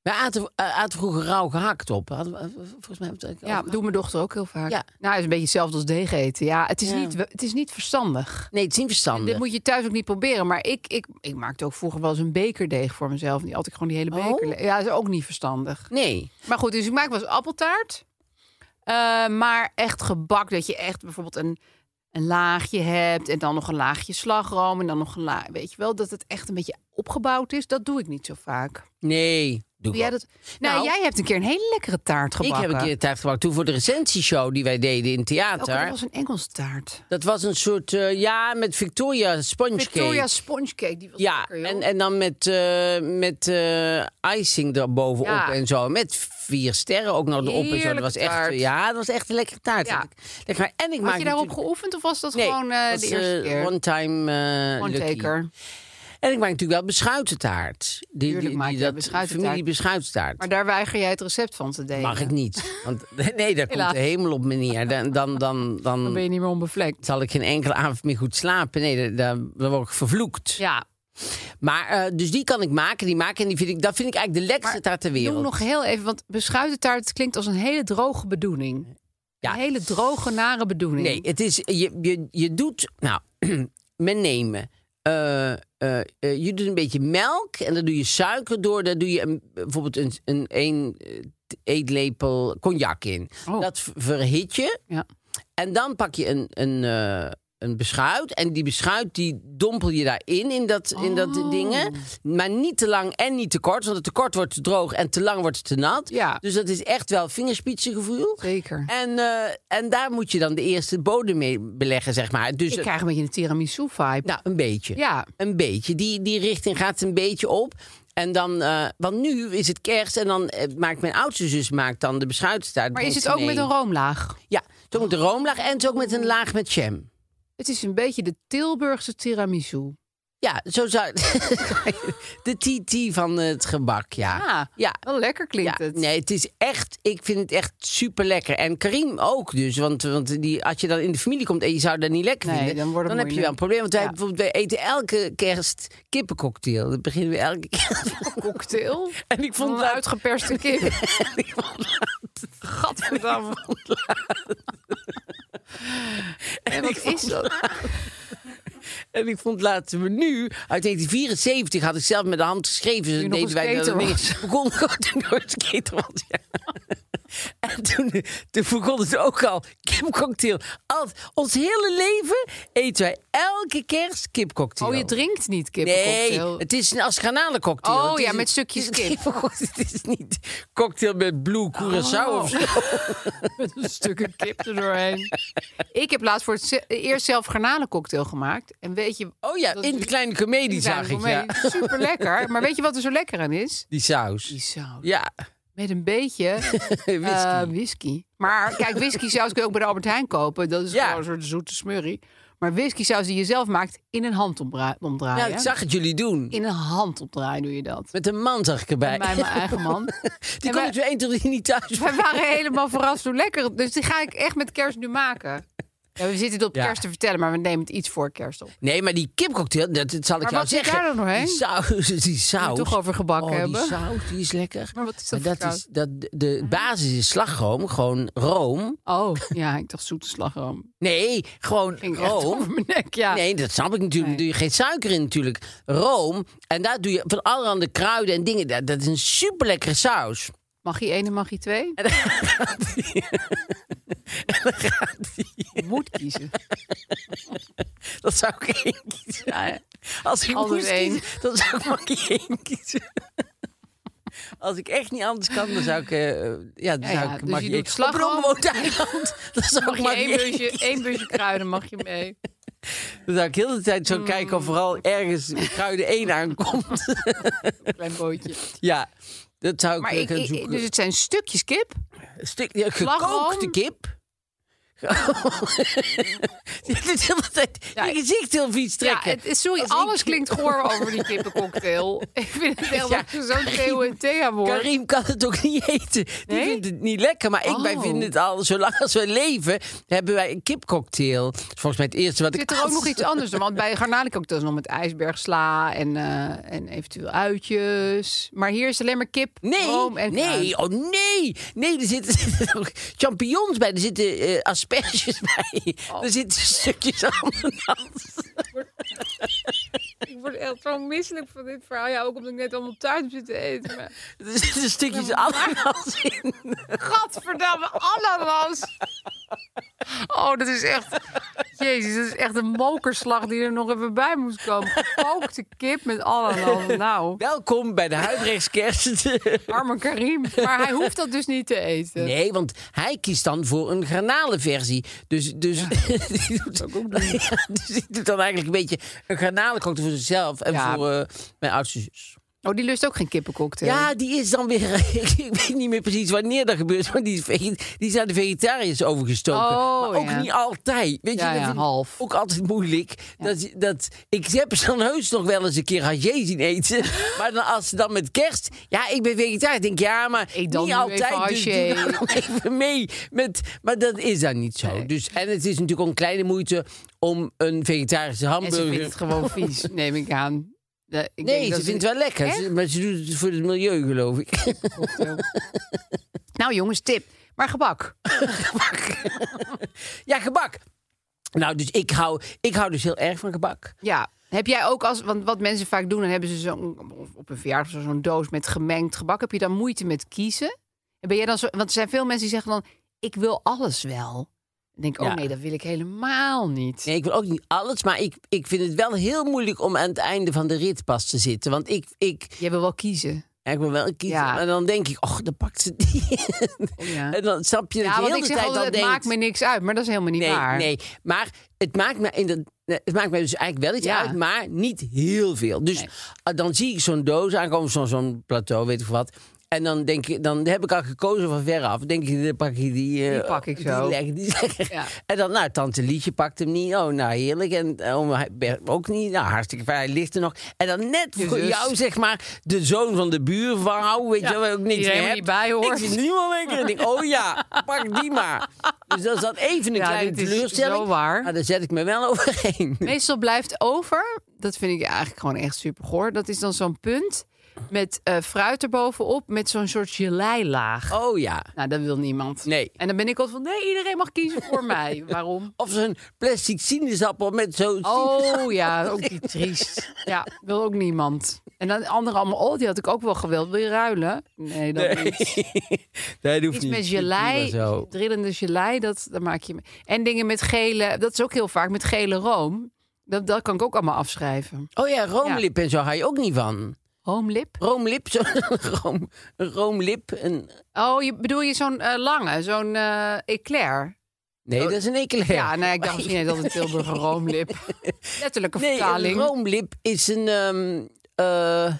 S1: Wij aten, eh, aten vroeger rauw gehakt op. Hadden we, eh, volgens mij hebben we het
S2: Ja,
S1: over-
S2: doe mijn dochter ook heel vaak.
S1: Ja.
S2: Nou, het is een beetje hetzelfde als deeg eten. Ja, het is,
S1: Ja.
S2: Niet, het is niet verstandig.
S1: Nee, het is niet verstandig.
S2: Dit moet je thuis ook niet proberen. Maar ik, ik, ik maakte ook vroeger wel eens een bekerdeeg voor mezelf. En die had ik gewoon die hele
S1: Oh.
S2: beker. le- Ja, dat is ook niet verstandig.
S1: Nee.
S2: Maar goed, dus ik maak wel eens appeltaart. Eh, maar echt gebak, dat je echt bijvoorbeeld een, een laagje hebt... en dan nog een laagje slagroom en dan nog een laagje... Weet je wel, dat het echt een beetje opgebouwd is. Dat doe ik niet zo vaak.
S1: Nee. Doe
S2: Doe jij
S1: ik wel.
S2: dat? Nou,
S1: Nou,
S2: jij hebt een keer een hele lekkere taart
S1: Ik
S2: gebakken.
S1: heb een keer taart gebak toen voor de recensieshow die wij deden in het
S2: Ook,
S1: theater.
S2: dat was een Engelse taart.
S1: Dat was een soort, eh, ja, met Victoria sponge cake.
S2: Victoria spongecake, die was
S1: ja,
S2: lekker, joh.
S1: en, en dan met, eh, met eh, icing erbovenop
S2: Ja.
S1: en zo. Met vier sterren ook nog erop en zo. Dat
S2: Heerlijke
S1: was echt,
S2: taart.
S1: ja, dat was echt een lekkere taart.
S2: Ja.
S1: Lekker. En ik
S2: Had
S1: maak
S2: je daarop
S1: natuurlijk-
S2: geoefend of was dat
S1: Nee,
S2: gewoon eh,
S1: dat
S2: de
S1: is,
S2: eerste
S1: eh,
S2: keer?
S1: one time eh,
S2: One
S1: lucky.
S2: taker.
S1: En ik maak natuurlijk wel beschuitentaart. Die,
S2: Tuurlijk maak jij beschuitentaart.
S1: Familie beschuitentaart.
S2: Maar daar weiger jij het recept van te delen.
S1: Mag ik niet. Want [laughs] nee, daar komt
S2: Helaas.
S1: de hemel op meneer. Dan, dan, dan,
S2: Dan ben
S1: dan
S2: je niet meer onbevlekt.
S1: zal ik geen enkele avond meer goed slapen. Nee, daar- daar, daar word ik vervloekt.
S2: Ja,
S1: Maar, eh, dus die kan ik maken, die maken. En die vind ik, dat vind ik eigenlijk de lekkerste taart ter wereld.
S2: Noem nog heel even, want beschuitentaart het klinkt als een hele droge bedoeling.
S1: Ja.
S2: Een hele droge, nare bedoeling.
S1: Nee, het is, je, je, je doet, nou, [clears throat] met nemen. Eh, eh, eh, je doet een beetje melk en daar doe je suiker door. Daar doe je een, bijvoorbeeld een, een, een eh, eetlepel cognac in.
S2: Oh.
S1: Dat ver- verhit je.
S2: Ja.
S1: En dan pak je een, een, eh, een beschuit. En die beschuit die dompel je daarin, in dat, in dat
S2: Oh.
S1: dingen. Maar niet te lang en niet te kort. Want het te kort wordt te droog en te lang wordt het te nat.
S2: Ja.
S1: Dus dat is echt wel vingerspitsengevoel.
S2: Zeker.
S1: En, eh, en daar moet je dan de eerste bodem mee beleggen, zeg maar. Dus
S2: Ik krijg een beetje een tiramisu vibe.
S1: nou, een beetje.
S2: ja.
S1: Een beetje. Die, die richting gaat een beetje op. En dan, eh, want nu is het kerst en dan eh, maakt mijn oudste zus maakt dan de beschuitstaart.
S2: Maar is
S1: brengt
S2: het ook
S1: mee.
S2: met een roomlaag?
S1: Ja, het is ook met een roomlaag en het is ook met een laag met jam.
S2: Het is een beetje de Tilburgse tiramisu.
S1: Ja, zo zou [laughs] de TT van het gebak, ja.
S2: Ah,
S1: ja.
S2: Wel lekker klinkt
S1: Ja,
S2: het.
S1: Nee, het is echt, ik vind het echt super lekker. En Karim ook dus, want, want die, als je dan in de familie komt en je zou dat niet lekker
S2: Nee,
S1: vinden,
S2: dan wordt het
S1: heb je wel een probleem.
S2: moeilijk.
S1: Want wij,
S2: Ja.
S1: bijvoorbeeld, wij eten elke kerst kippencocktail. Dat beginnen we elke keer. [laughs]
S2: Cocktail.
S1: En [laughs] ik vond
S2: Van een
S1: het-
S2: uitgeperste
S1: [laughs]
S2: kip. Gadverdamme. En wat is dat?
S1: En ik vond laten we nu, uit 1974 had ik zelf met de hand geschreven. Dus
S2: nog
S1: deden
S2: een
S1: wij dat
S2: skater
S1: ding.
S2: was.
S1: [laughs] Begon gewoon toen ik nog een skater was, ja. [laughs] En toen, toen begon het ook al, kipcocktail. Al, ons hele leven eten wij elke kerst kipcocktail.
S2: Oh, je drinkt niet
S1: Nee, [laughs]
S2: kippencocktail.
S1: het is een asgranalen-cocktail.
S2: Oh
S1: Het is
S2: ja,
S1: een-
S2: met stukjes
S1: het is een [laughs]
S2: kip.
S1: kipcocktail. Het is niet cocktail met blue curaçao
S2: Oh.
S1: of zo.
S2: Met een stukje kip erdoorheen. Ik heb laatst voor het ze- eerst zelf garnalencocktail gemaakt. En weet je...
S1: Oh ja,
S2: dat
S1: in
S2: is-
S1: de kleine comedie
S2: die zijn
S1: zag
S2: er
S1: ik,
S2: omheen.
S1: ja.
S2: Super lekker. Maar weet je wat er zo lekker aan
S1: [laughs]
S2: is?
S1: Die saus.
S2: Die saus.
S1: Ja, [laughs]
S2: Met een beetje
S1: whisky.
S2: eh, whisky. Maar kijk, whisky saus kun je ook bij de Albert Heijn kopen. Dat is
S1: Ja.
S2: gewoon een soort zoete smurrie. Maar whisky saus die je zelf maakt, in een hand omdra- omdraaien.
S1: nou, ik zag het jullie doen.
S2: In een hand opdraaien doe je dat.
S1: Met een man zag ik erbij.
S2: Bij mij, mijn
S1: [laughs]
S2: eigen man.
S1: Die
S2: En
S1: kon
S2: wij-
S1: ik zo één tot die niet thuis.
S2: Wij waren helemaal verrast hoe lekker. het- Dus die ga ik echt met kerst nu maken. Ja, we zitten het op
S1: Ja.
S2: kerst te vertellen, maar we nemen het iets voor kerst op.
S1: Nee, maar die kipcocktail, dat, dat zal ik
S2: Maar
S1: jou
S2: wat zit
S1: zeggen.
S2: daar dan doorheen?
S1: Die saus, [laughs] die saus.
S2: toch over gebakken
S1: oh,
S2: hebben?
S1: Die saus, die is lekker.
S2: Maar wat is dat voor
S1: dat is, dat, De basis is slagroom, gewoon room.
S2: Oh, Oh. ja, ik dacht zoete slagroom.
S1: Nee, gewoon
S2: Ging echt
S1: room.
S2: over mijn nek, ja.
S1: Nee, dat snap ik natuurlijk. Daar doe je geen suiker in natuurlijk. Room. En daar doe je van allerhande kruiden en dingen. Dat, dat is een super lekkere saus.
S2: Mag je één en mag je twee? Je moet kiezen.
S1: Dat zou ik één kiezen. Als ik
S2: Altijd
S1: moest
S2: één.
S1: kiezen, dan zou ik maar één kiezen. Als ik echt niet anders kan, dan zou ik... eh, ja, dan
S2: Ja,
S1: zou
S2: ja,
S1: ik
S2: dus
S1: Maggie
S2: je
S1: één-
S2: doet slagroom.
S1: Op een onbewoond eiland. [laughs] Dan zou
S2: Mag
S1: ik
S2: je één
S1: Maggie één
S2: busje, één busje kruiden mag je mee.
S1: Dan zou ik heel de hele tijd
S2: Mm.
S1: zo kijken of vooral ergens kruiden één aankomt. [laughs]
S2: Klein bootje.
S1: ja, dat zou ik
S2: Maar
S1: eh,
S2: ik,
S1: gaan
S2: ik-
S1: zoeken.
S2: dus het zijn stukjes kip.
S1: Een stuk ja,
S2: Slagroom.
S1: gekookte kip.
S2: [laughs]
S1: Je doet heel de tijd
S2: Ja,
S1: je gezicht heel vies
S2: Ja,
S1: trekken.
S2: het, is- sorry,
S1: Als ik-
S2: alles klinkt goor over die kippencocktail. [laughs] ik vind het heel
S1: Ja,
S2: dat je zo'n
S1: Karim-
S2: Theo en Thea wordt.
S1: Karim kan het ook niet eten. Die
S2: Nee?
S1: vindt het niet lekker. Maar ik, wij
S2: Oh.
S1: vinden het al, zolang als wij leven, hebben wij een kipcocktail. Dat is Volgens mij het eerste wat ik
S2: Zit er ook
S1: at.
S2: nog iets anders dan? Want bij garnalencocktails nog met ijsbergsla en, eh, en eventueel uitjes. Maar hier is alleen maar kip,
S1: Nee,
S2: room en kruid.
S1: nee, oh nee. Nee, er zitten, [laughs] zitten ook champignons bij, er zitten eh, asperges [laughs] bij.
S2: Oh.
S1: Er zitten stukjes [laughs] ananas.
S2: Ik word echt zo misselijk van dit verhaal. Ja, ook omdat ik net allemaal thuis heb zitten
S1: [laughs]
S2: eten. Maar...
S1: Er zitten stukjes ananas in.
S2: Gadverdamme, ananas! Oh, dat is echt... Jezus, dat is echt een mokerslag die er nog even bij moest komen. Gekookte kip met ananas. Nou,
S1: Welkom bij de huidrechtskerst.
S2: arme Karim. Maar hij hoeft dat dus niet te eten.
S1: Nee, want hij kiest dan voor een granalenversie. Dus, dus, [laughs] die doet, Ja, dus die doet dan eigenlijk een beetje een granalencocktail voor zichzelf en
S2: Ja.
S1: voor eh, mijn oudste zus.
S2: Oh, die lust ook geen kippencocktail.
S1: Ja, die is dan weer. [laughs] ik, ik weet niet meer precies wanneer dat gebeurt, maar die is, vege- die is aan de vegetariërs overgestoken.
S2: Oh,
S1: maar ook
S2: ja.
S1: niet altijd. Weet je,
S2: Ja, ja,
S1: dat vind ik
S2: half.
S1: Ook altijd moeilijk. Dat, dat, ik heb ze dan heus nog wel eens een keer hajé zien
S2: [laughs]
S1: eten. maar dan, als ze dan met kerst. Ja, ik ben vegetariër. Ik denk ja, maar
S2: Eet dan
S1: niet
S2: nu
S1: altijd.
S2: even
S1: dus
S2: hajé.
S1: doe dan [laughs] nog even mee. Met, maar dat is dan niet zo.
S2: Nee.
S1: Dus, en het is natuurlijk ook een kleine moeite om een vegetarische
S2: En ze vindt
S1: hamburger.
S2: het
S1: [laughs]
S2: gewoon vies, neem ik aan. Eh, Ik denk
S1: Nee,
S2: dat
S1: ze vindt het wel lekker. Ze- maar ze doet het voor het milieu, geloof ik.
S2: Nou jongens, tip. Maar gebak.
S1: Ja, gebak. [laughs] Nou, dus ik hou, ik hou dus heel erg van gebak.
S2: Ja. Heb jij ook als, want wat mensen vaak doen, dan hebben ze zo'n of op een verjaardag of zo, zo'n doos met gemengd gebak. Heb je dan moeite met kiezen? En ben jij dan zo, want er zijn veel mensen die zeggen dan, ik wil alles wel. Dan denk ik,
S1: Ja.
S2: oh nee, dat wil ik helemaal niet.
S1: Nee, ik wil ook niet alles, maar ik, ik vind het wel heel moeilijk om aan het einde van de rit pas te zitten. Want ik, ik,
S2: Jij wil wel kiezen.
S1: ja, ik wil wel kiezen,
S2: Ja.
S1: en dan denk ik, och, dan pakt ze die.
S2: Oh Ja,
S1: [laughs] En dan snap je dat
S2: ja
S1: je
S2: want
S1: heel de
S2: ik zeg
S1: tijd
S2: altijd,
S1: al
S2: het
S1: denkt...
S2: maakt me niks uit. Maar dat is helemaal niet
S1: nee,
S2: waar.
S1: nee, maar het maakt me in de, Nee, het maakt mij dus eigenlijk wel iets
S2: Ja.
S1: uit, maar niet heel veel. Dus ah, dan zie ik zo'n doos aankomen, zo'n zo'n plateau, weet ik wat. En dan denk ik, dan heb ik al gekozen van veraf. Denk ik, dan pak ik die. eh,
S2: Die pak ik
S1: die
S2: zo.
S1: leg- die leg-
S2: Ja.
S1: En dan, nou, tante Lietje pakt hem niet. Oh, nou, heerlijk. En eh, oom Bert ook niet. Nou, hartstikke fijn. Hij ligt er nog. En dan net
S2: Je
S1: voor
S2: zus.
S1: jou, zeg maar, de zoon van de buurvrouw. Weet
S2: Ja,
S1: je wel, waar je ook
S2: die
S1: niks
S2: er
S1: mee
S2: helemaal
S1: hebt.
S2: niet bij hoort.
S1: Ik zie niemand meer. Ik denk, oh ja, pak die maar. Dus dat is dan even een
S2: Ja,
S1: kleine
S2: dit is
S1: teleurstelling.
S2: zo waar.
S1: Maar daar zet ik me wel overheen.
S2: [laughs] Meestal blijft over, dat vind ik eigenlijk gewoon echt super goor. Dat is dan zo'n punt met eh, fruit erbovenop, met zo'n soort geleilaag.
S1: Oh ja.
S2: Nou, dat wil niemand.
S1: Nee.
S2: En dan ben ik altijd van, nee, iedereen mag kiezen [laughs] voor mij. Waarom?
S1: Of zo'n plastic sinaasappel met zo'n...
S2: Oh [laughs] ja, ook die triest. Ja, wil ook niemand. En dan anderen allemaal, oh, die had ik ook wel gewild. Wil je ruilen? Nee, dat
S1: Nee.
S2: niet.
S1: dat hoeft
S2: Iets
S1: niet.
S2: met
S1: Prima
S2: gelei,
S1: Zo.
S2: drillende gelei, dat, dat maak je. me- En dingen met gele, dat is ook heel vaak, met gele room. Dat, dat kan ik ook allemaal afschrijven.
S1: Oh ja, roomlip en zo ga je ook niet van.
S2: Homelip?
S1: Roomlip, zo'n [laughs] room, een roomlip. Een,
S2: Oh, je, bedoel je zo'n eh, lange, zo'n eh eclair?
S1: nee, dat is een eclair.
S2: Ja, nou, ik dacht misschien dat het Tilburger roomlip.
S1: [laughs]
S2: Letterlijke
S1: nee, een
S2: vertaling.
S1: roomlip is een... ehm, eh,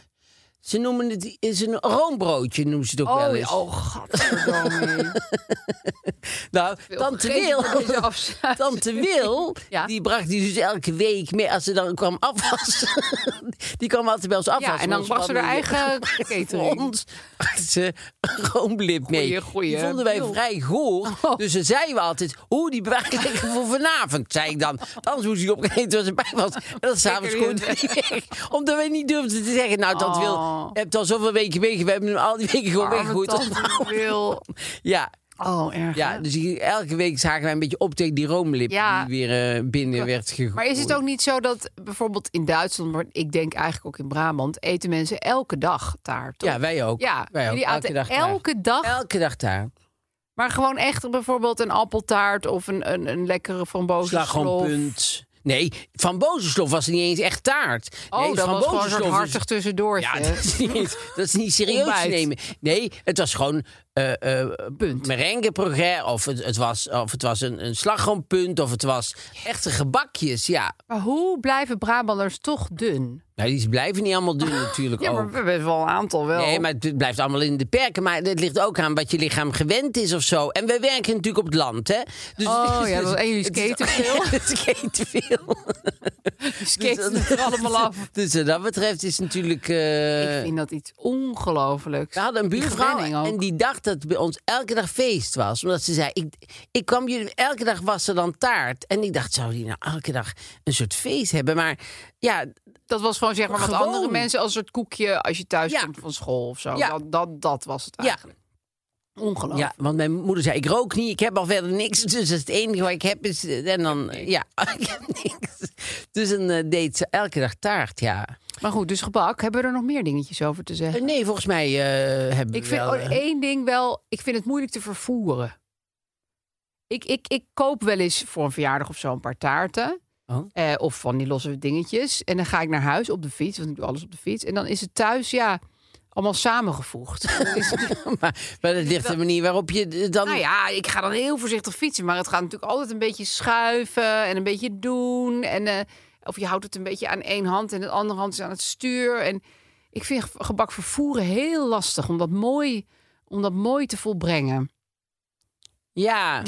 S1: ze noemen het is een roombroodje, noemen ze het ook wel eens.
S2: oh, oh,
S1: [laughs]
S2: godverdomme.
S1: nou, tante Wil, [laughs] tante Wil
S2: Ja.
S1: die bracht die dus elke week mee als ze dan kwam afwassen. [laughs] die kwam altijd bij ons afwassen.
S2: Ja, en dan
S1: want
S2: was ze haar
S1: hadden-
S2: eigen
S1: [laughs] voor
S2: catering.
S1: ons brachten ze roomlip mee.
S2: Goeie, goeie.
S1: Die vonden wij
S2: Joh.
S1: vrij goor.
S2: Oh.
S1: Dus dan zeiden we altijd, hoe die
S2: [laughs]
S1: bewaar ik lekker voor vanavond, zei ik dan. Anders moest ik opgegeten als erbij was. En dan s'avonds
S2: weer
S1: gewoon [laughs] weg. Omdat wij niet durfden te zeggen, nou, dat wil...
S2: Oh.
S1: Je hebt al zoveel weken meegegooid, we hebben hem al die weken gewoon
S2: Arme
S1: weggegooid.
S2: tante Wil.
S1: [laughs] Ja,
S2: Oh, erg. hè?
S1: ja, dus die- elke week zagen wij een beetje op tegen die roomlip
S2: Ja.
S1: die weer eh, binnen werd gegooid.
S2: Maar is het ook niet zo dat bijvoorbeeld in Duitsland, maar ik denk eigenlijk ook in Brabant, eten mensen elke dag taart? toch?
S1: Ja, wij ook.
S2: ja
S1: wij ook.
S2: jullie aten
S1: daar.
S2: elke dag
S1: Elke dag daar.
S2: Maar gewoon echt bijvoorbeeld een appeltaart of een, een, een lekkere frambozensloof.
S1: Slagroompunt. Nee, Van Bozenslof was niet eens echt taart.
S2: Oh,
S1: nee,
S2: dat
S1: Van
S2: was gewoon een soort
S1: Bozenslof is-
S2: hartig tussendoor.
S1: Ja, [laughs] dat is niet, dat is niet serieus te
S2: Ontbijt.
S1: nemen. Nee, het was gewoon eh eh
S2: Punt.
S1: merengeprogramma. Of het, het was, of het was een, een slagroompunt. Of het was echte gebakjes. Ja,
S2: Maar hoe blijven Brabanders toch dun?
S1: nou, die blijven niet allemaal dun natuurlijk
S2: [laughs] Ja, maar
S1: ook.
S2: we hebben wel een aantal wel.
S1: Nee, maar het blijft allemaal in de perken. Maar het ligt ook aan wat je lichaam gewend is of zo. En we werken natuurlijk op het land, hè? Dus,
S2: Oh, ja, dat- en jullie
S1: [laughs] het is-
S2: skaten veel.
S1: Het skaten veel.
S2: [laughs] skaten het allemaal af.
S1: [laughs] Dus wat dat betreft is natuurlijk... eh,
S2: ik vind dat iets ongelofelijks.
S1: We hadden een
S2: Die
S1: buurvrouw
S2: gewenning ook.
S1: en die dacht dat het bij ons elke dag feest was. Omdat ze zei, ik, ik kwam jullie, elke dag was er dan taart. En ik dacht, zou die nou elke dag een soort feest hebben? Maar ja,
S2: Dat was gewoon zeg maar wat
S1: Gewoon.
S2: andere mensen als het koekje als je thuis
S1: Ja.
S2: komt van school of zo.
S1: Ja.
S2: Dat, dat, dat was het
S1: ja,
S2: eigenlijk. Ongelooflijk.
S1: ja, want mijn moeder zei, ik rook niet, ik heb al verder niks. Dus dat is het enige wat ik heb is... eh, En dan, ja, [laughs] ik heb niks. Dus dan eh, deed ze elke dag taart, ja.
S2: Maar goed, dus gebak. Hebben we er nog meer dingetjes over te zeggen?
S1: Eh, Nee, volgens mij eh, hebben
S2: Ik
S1: we
S2: vind
S1: wel...
S2: oh,
S1: eh,
S2: één ding wel, ik vind het moeilijk te vervoeren. Ik, ik, ik koop wel eens voor een verjaardag of zo een paar taarten.
S1: Oh.
S2: Eh, of van die losse dingetjes. En dan ga ik naar huis op de fiets, want ik doe alles op de fiets. En dan is het thuis, ja, allemaal samengevoegd. [laughs] Dan is het-
S1: [laughs] maar, maar dat ligt de manier waarop je eh, dan...
S2: nou ja, ik ga dan heel voorzichtig fietsen. Maar het gaat natuurlijk altijd een beetje schuiven en een beetje doen. En, eh, of je houdt het een beetje aan één hand en de andere hand is aan het stuur. En ik vind ge- gebak vervoeren heel lastig om dat mooi, om dat mooi te volbrengen. [laughs]
S1: Ja,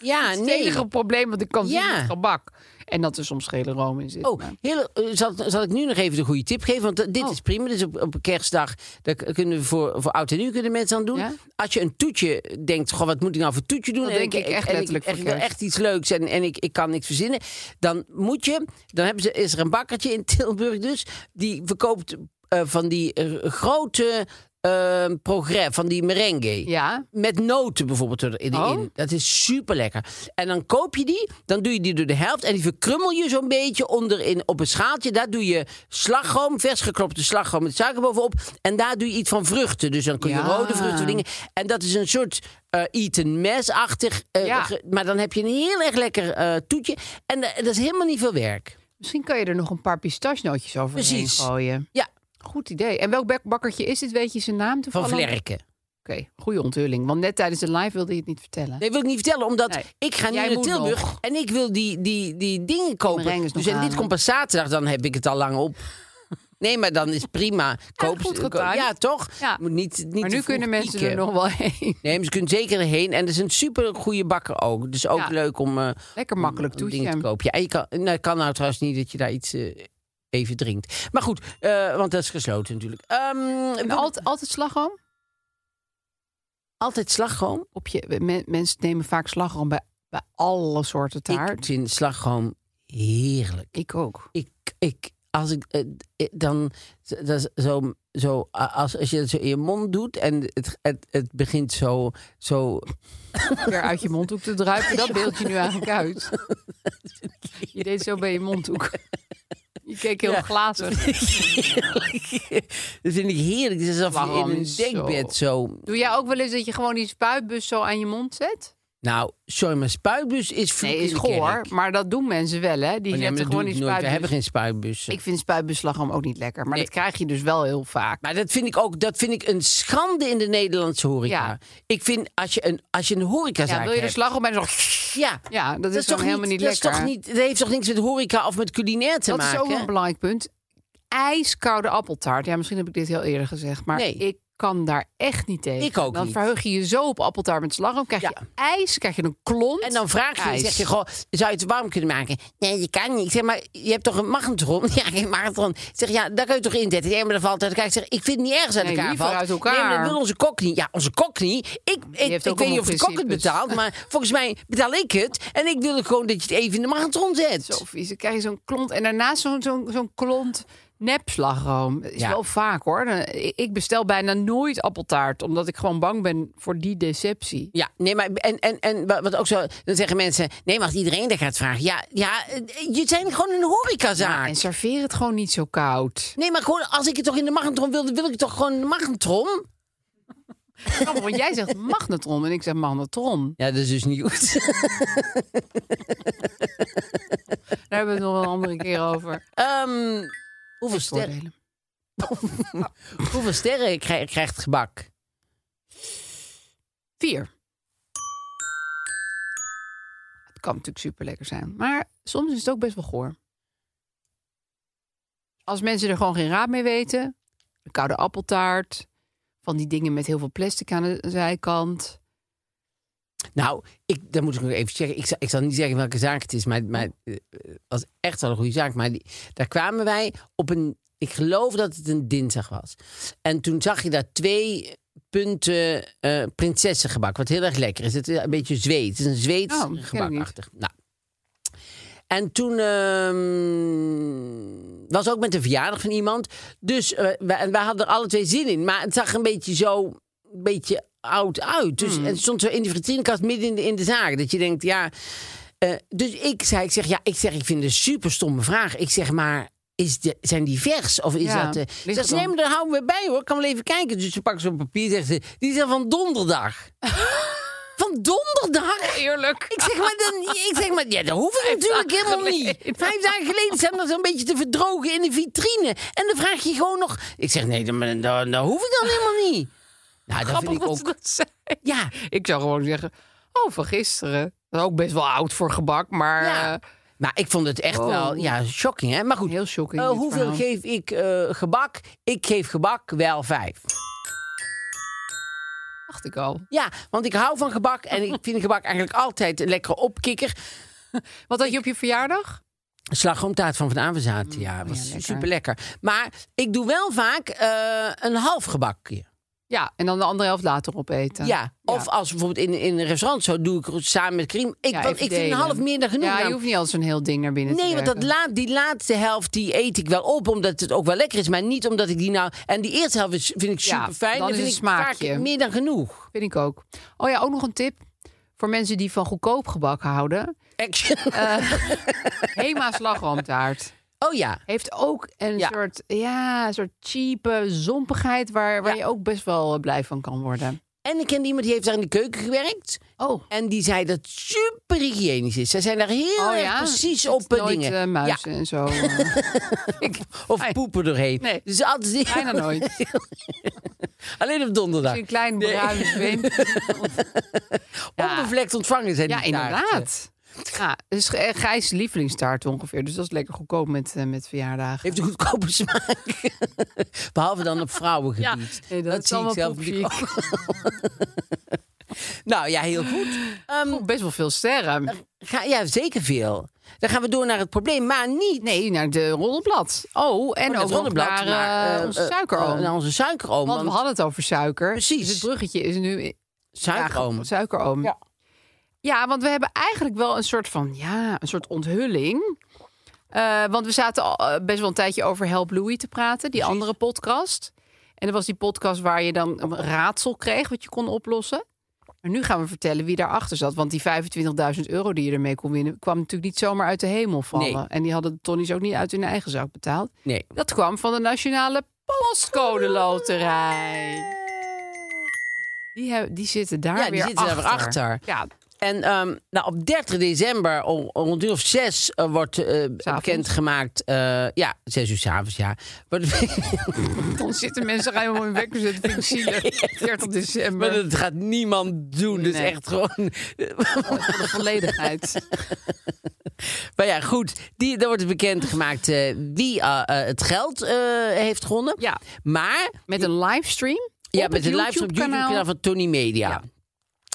S1: ja
S2: Het
S1: nee.
S2: enige probleem wat ik kan zien
S1: Ja.
S2: met gebak. En dat er soms gele room in zit.
S1: Oh,
S2: maar-
S1: heel, eh, zal, zal ik nu nog even de goede tip geven? Want eh, dit
S2: Oh.
S1: is prima. Dit is op, op kerstdag. Daar k- kunnen we voor, voor oud en nieuw kunnen mensen aan doen.
S2: Ja?
S1: Als je een toetje denkt, goh, wat moet ik nou voor toetje doen?
S2: Dat denk ik echt
S1: en
S2: letterlijk
S1: en
S2: voor
S1: ik wil
S2: kerst.
S1: echt iets leuks en, en ik, ik kan niks verzinnen. Dan moet je, dan hebben ze, is er een bakkertje in Tilburg dus. Die verkoopt eh, van die eh, grote eh progrès, van die merengue.
S2: Ja,
S1: Met noten bijvoorbeeld erin.
S2: Oh.
S1: Dat is super lekker. En dan koop je die, dan doe je die door de helft. En die verkrummel je zo'n beetje onderin op een schaaltje. Daar doe je slagroom, vers gekropte slagroom met suiker bovenop. En daar doe je iets van vruchten. Dus dan kun je
S2: Ja.
S1: rode vruchten of dingen. En dat is een soort eh eaten mes-achtig. eh,
S2: Ja.
S1: ge- Maar dan heb je een heel erg lekker eh, toetje. En eh, dat is helemaal niet veel werk.
S2: misschien kan je er nog een paar pistachenootjes overheen
S1: Precies.
S2: gooien.
S1: Ja,
S2: Goed idee. En welk bak- bakkertje is dit? Weet je zijn naam
S1: van
S2: toevallig?
S1: vlerken.
S2: goede onthulling. Want net tijdens de live wilde je het niet vertellen.
S1: Nee, wil ik niet vertellen, omdat
S2: Nee.
S1: ik ga nu
S2: Jij
S1: naar
S2: moet
S1: Tilburg
S2: nog.
S1: en ik wil die, die, die dingen kopen.
S2: meringues
S1: Dus
S2: nog
S1: en dit
S2: halen.
S1: komt pas zaterdag, dan heb ik het al lang
S2: [laughs]
S1: op. Nee, maar dan is prima. Koop,
S2: goed
S1: koop-
S2: getimed.
S1: ja, toch?
S2: Ja.
S1: Moet niet, niet
S2: maar
S1: te
S2: nu
S1: vroeg
S2: kunnen mensen
S1: pieken.
S2: er nog wel heen.
S1: Nee, maar ze kunnen zeker heen. En er is een super goede bakker ook. Dus ook
S2: Ja.
S1: leuk om, eh,
S2: Lekker
S1: om-
S2: makkelijk
S1: om dingen te
S2: douchen.
S1: kopen. Ja, en je kan, nou, kan nou trouwens niet dat je daar iets eh, even drinkt. Maar goed, eh, want dat is gesloten natuurlijk. Ehm,
S2: En
S1: we-
S2: altijd, altijd slagroom?
S1: altijd slagroom.
S2: Op je, men- mensen nemen vaak slagroom bij, bij alle soorten
S1: Ik
S2: taart.
S1: vind slagroom heerlijk.
S2: Ik ook.
S1: Ik, ik, als ik eh, eh, dan z- dat is zo, zo a- als, als je het zo in je mond doet en het, het, het begint zo, zo
S2: Weer uit je mondhoek te druipen, dat beeld je nu eigenlijk uit. Je deed zo bij je mondhoek. Je keek heel
S1: Ja.
S2: glazig.
S1: heerlijk. dat vind ik heerlijk. Het is alsof je
S2: Slagroom
S1: in een
S2: is zo-
S1: dekbed zo.
S2: Doe jij ook wel eens dat je gewoon die spuitbus zo aan je mond zet?
S1: Nou, sorry, maar spuitbus is vloek
S2: Nee, is
S1: in de kerk.
S2: goor. Maar dat doen mensen wel, hè? Die
S1: Maar nee, maar
S2: zetten
S1: dat
S2: gewoon
S1: doe
S2: die
S1: ik nooit. We
S2: spuitbus.
S1: hebben geen spuitbussen.
S2: Ik vind spuitbeslagroom ook niet lekker. Maar
S1: Nee.
S2: dat krijg je dus wel heel vaak.
S1: Maar dat vind ik ook dat vind ik een schande in de Nederlandse horeca.
S2: Ja.
S1: Ik vind als je een, als je een horecazaak
S2: Ja, wil je er
S1: hebt-
S2: slagroom bij? dan Zo...
S1: Ja,
S2: Ja, dat, is toch helemaal niet
S1: dat
S2: lekker.
S1: Is toch niet, dat heeft toch niks met horeca of met culinair te
S2: dat
S1: maken?
S2: is ook wel een belangrijk punt. IJskoude appeltaart. Ja, misschien heb ik dit heel eerder gezegd. Maar
S1: Nee.
S2: ik kan daar echt niet tegen.
S1: Ik ook
S2: Dan
S1: niet.
S2: verheug je je zo op appeltaart met slagroom. Krijg
S1: Ja.
S2: je ijs, krijg je een klont.
S1: En dan vraag je,
S2: ijs.
S1: zeg je, goh, zou je het warm kunnen maken? Nee, je kan niet. Ik zeg, maar je hebt toch een magnetron? [laughs] Ja, geen magnetron. Ik zeg, ja, daar kun je toch inzetten? Ja, maar dat valt uit elkaar. Ik zeg, ik vind het niet ergens uit
S2: Nee,
S1: elkaar
S2: liever
S1: valt.
S2: uit elkaar.
S1: Nee, maar dat wil onze kok niet. Ja, onze kok niet. Ik, ik,
S2: heeft
S1: ik
S2: ook
S1: weet niet of
S2: allemaal
S1: de kok het
S2: principes.
S1: betaalt, maar volgens mij betaal ik het. En ik wil gewoon dat je het even in de magnetron zet.
S2: Zo vies. Dan krijg je zo'n klont. En daarnaast zo'n zo'n zo'n klont nepslagroom. Dat is
S1: Ja.
S2: wel vaak hoor. Dan- ik- Ik bestel bijna nooit appeltaart. Omdat ik gewoon bang ben voor die deceptie.
S1: Ja, nee, maar en, en, en wa- wat ook zo, dan zeggen mensen, nee, maar als iedereen dat gaat vragen. Ja, ja, eh, je zijn gewoon een horecazaak.
S2: En serveer het gewoon niet zo koud.
S1: [laughs] Nee, maar gewoon, als ik het toch in de magnetron wilde, wil ik het toch gewoon in de magnetron?
S2: Grappig, want jij zegt magnetron en ik zeg magnetron.
S1: Ja, dat is dus niet goed.
S2: Daar hebben we het nog wel een andere keer over.
S1: Ehm, hoeveel, sterren,
S2: Voordelen.
S1: hoeveel sterren krij- krijgt het gebak?
S2: Vier. Het kan natuurlijk super lekker zijn. Maar soms is het ook best wel goor. Als mensen er gewoon geen raad mee weten. Een koude appeltaart. Van die dingen met heel veel plastic aan de zijkant. [laughs]
S1: Nou, ik, dat moet ik nog even zeggen. Ik zal, ik zal niet zeggen welke zaak het is, maar, maar eh, het was echt wel een goede zaak. Maar die, daar kwamen wij op een, ik geloof dat het een dinsdag was. En toen zag je daar twee punten eh prinsessengebak, wat heel erg lekker is. Het is een beetje Zweeds, het is een Zweeds
S2: Oh, ken ik niet.
S1: gebakachtig. Nou. En toen ehm, was ook met de verjaardag van iemand. Dus eh, wij, en wij hadden er alle twee zin in. Maar het zag een beetje zo, een beetje oud uit.
S2: Hmm.
S1: Dus het stond zo in de vitrinekast midden in de, in de zaak. Dat je denkt, ja. eh, dus ik zei, ik zeg, ja, ik zeg, ik vind het een super stomme vraag. Ik zeg, maar. Is de, zijn die vers? Of is
S2: Ja,
S1: dat...
S2: ligt
S1: eh zegt
S2: het
S1: ze, nee,
S2: dan?
S1: maar daar houden we bij hoor. Ik kan wel even kijken. Dus ze pakken zo'n papier zegt ze... Die zijn van donderdag. van donderdag?
S2: Eerlijk.
S1: Ik zeg maar, dan, ik zeg maar ja, dat hoef ik natuurlijk
S2: dagen
S1: helemaal niet.
S2: geleden.
S1: Vijf dagen geleden zijn we zo'n beetje te verdrogen in de vitrine. En dan vraag je gewoon nog... Ik zeg, nee, dan, dan, dan, hoef ik dan helemaal niet. Nou, dat vind ik
S2: dat ze
S1: ook...
S2: dat zei.
S1: Ja,
S2: Ik zou gewoon zeggen, oh van gisteren. Dat is ook best wel oud voor gebak, maar...
S1: ja.
S2: eh,
S1: Maar ik vond het echt
S2: Wow.
S1: wel ja, shocking, hè? Maar goed,
S2: Oh. Heel shocking,
S1: eh,
S2: dit
S1: hoeveel
S2: verhaal.
S1: geef ik eh, gebak? Ik geef gebak wel vijf.
S2: dacht ik al.
S1: Ja, want ik hou van gebak en ik vind gebak eigenlijk altijd een lekkere opkikker.
S2: Wat had je op je verjaardag?
S1: Slagroomtaart van Van Averzaat, ja, was
S2: Mm, lekker.
S1: super lekker. Maar ik doe wel vaak eh, een half gebakje.
S2: Ja, en dan de andere helft later opeten.
S1: Ja, of als bijvoorbeeld in, in een restaurant zo doe ik het samen met cream. Ik,
S2: Ja,
S1: want
S2: even
S1: ik vind een
S2: delen.
S1: half meer dan genoeg.
S2: Ja, je
S1: Nou,
S2: hoeft niet al zo'n heel ding naar binnen te
S1: Nee, want dat
S2: werken.
S1: laat, die laatste helft die eet ik wel op, omdat het ook wel lekker is. Maar niet omdat ik die nou... En die eerste helft is- vind ik
S2: Ja,
S1: super fijn.
S2: dan is
S1: vind
S2: het
S1: ik vaak
S2: smaakje.
S1: meer dan genoeg.
S2: Vind ik ook. Oh ja, ook nog een tip. Voor mensen die van goedkoop gebak houden.
S1: Action.
S2: Eh. Hema slagroomtaart.
S1: [laughs] oh ja.
S2: Heeft ook een
S1: Ja.
S2: soort, ja, een soort cheap eh, zompigheid waar, waar
S1: Ja.
S2: je ook best wel eh, blij van kan worden.
S1: En ik ken iemand die heeft daar in de keuken gewerkt.
S2: Oh,
S1: En die zei dat het super hygiënisch is. Zij zijn daar heel
S2: oh
S1: erg
S2: ja.
S1: precies
S2: Zit
S1: op eh,
S2: nooit,
S1: dingen.
S2: eh,
S1: ja,
S2: muizen en zo. eh,
S1: [laughs] of poepen doorheen.
S2: Nee.
S1: Dus altijd
S2: Bijna nooit.
S1: Alleen op donderdag.
S2: Een klein bruin zweem.
S1: [laughs]
S2: Ja.
S1: Onbevlekt ontvangen zijn die
S2: Ja, inderdaad. Ja, dus eh, Gijs lievelingstaart ongeveer. Dus dat is lekker goedkoop met, eh, met verjaardagen.
S1: Heeft een goedkope smaak. [laughs] Behalve dan op vrouwengebied.
S2: nee, dat
S1: zie
S2: is
S1: ik
S2: allemaal
S1: zelf natuurlijk ook. nou ja, heel goed. Ehm,
S2: Oeh, [laughs] best wel veel sterren.
S1: ga, ja, zeker veel. Dan gaan we door naar het probleem, maar niet.
S2: Nee, naar de rollenblad. Oh,
S1: naar
S2: en ook
S1: het
S2: nog
S1: roddelblad,
S2: naar
S1: maar,
S2: eh,
S1: eh,
S2: onze
S1: eh,
S2: suikeroom.
S1: eh, Naar onze suikeroom.
S2: Want we hadden het over suiker.
S1: Precies.
S2: Dus het bruggetje is nu
S1: suikeroom.
S2: Suikeroom.
S1: Ja.
S2: Ja. ja, want we hebben eigenlijk wel een soort van, ja, een soort onthulling. Eh, want we zaten al, eh, best wel een tijdje over Help Louis te praten, die andere podcast. En dat was die podcast waar je dan een raadsel kreeg wat je kon oplossen. Maar nu gaan we vertellen wie daarachter zat. Want die 25.000 euro die je ermee kon winnen... kwam natuurlijk niet zomaar uit de hemel vallen.
S1: Nee.
S2: En die hadden de Tonnies ook niet uit hun eigen zak betaald.
S1: Nee.
S2: Dat kwam van de Nationale Postcode Loterij. Die, hebben, die zitten daar
S1: Ja, die
S2: weer
S1: zitten daar
S2: achter.
S1: weer achter.
S2: Ja,
S1: En ehm, nou, op 30 december, om, om een uur of zes, eh, wordt eh, bekendgemaakt... eh, ja, zes uur s'avonds, ja. Wordt- [laughs]
S2: dan zitten mensen gaan helemaal in wekker zitten. Vind ik zielig. 30
S1: Maar
S2: december.
S1: dat gaat niemand doen. Dus
S2: Nee.
S1: echt gewoon. [laughs]
S2: Voor de volledigheid.
S1: Maar ja, goed. Die, dan wordt bekendgemaakt eh wie eh, eh, het geld eh, heeft gewonnen.
S2: Ja.
S1: Maar
S2: Met een livestream.
S1: ja,
S2: op
S1: met
S2: het
S1: een livestream op
S2: YouTube-kanaal.
S1: YouTube-kanaal van Tony Media.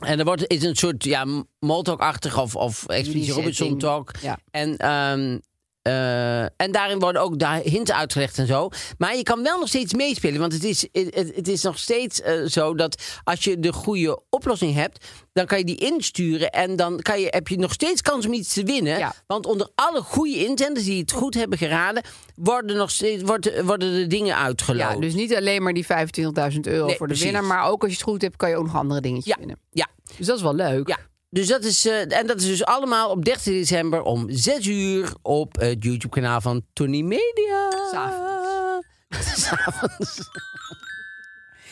S1: En er wordt, is een soort ja, Moltalk-achtig of, of Expeditie
S2: Mini-setting.
S1: Robinson-talk.
S2: Ja.
S1: En, ehm, eh, en daarin worden ook daar hints uitgelegd en zo. Maar je kan wel nog steeds meespelen. Want het is, het, het is nog steeds eh, zo dat als je de goede oplossing hebt... dan kan je die insturen en dan kan je, heb je nog steeds kans om iets te winnen.
S2: Ja.
S1: Want onder alle goede inzenders die het goed hebben geraden... worden, nog steeds, worden, worden de dingen uitgeloot.
S2: Ja, dus niet alleen maar die 25.000 euro
S1: Nee,
S2: voor de
S1: precies.
S2: winnaar. Maar ook als je het goed hebt, kan je ook nog andere dingetjes
S1: ja,
S2: winnen.
S1: ja.
S2: Dus dat is wel leuk.
S1: Ja, dus dat is, eh, en dat is dus allemaal op 13 december om 6 uur op het YouTube-kanaal van Tony Media.
S2: S'avonds.
S1: [laughs] S'avonds.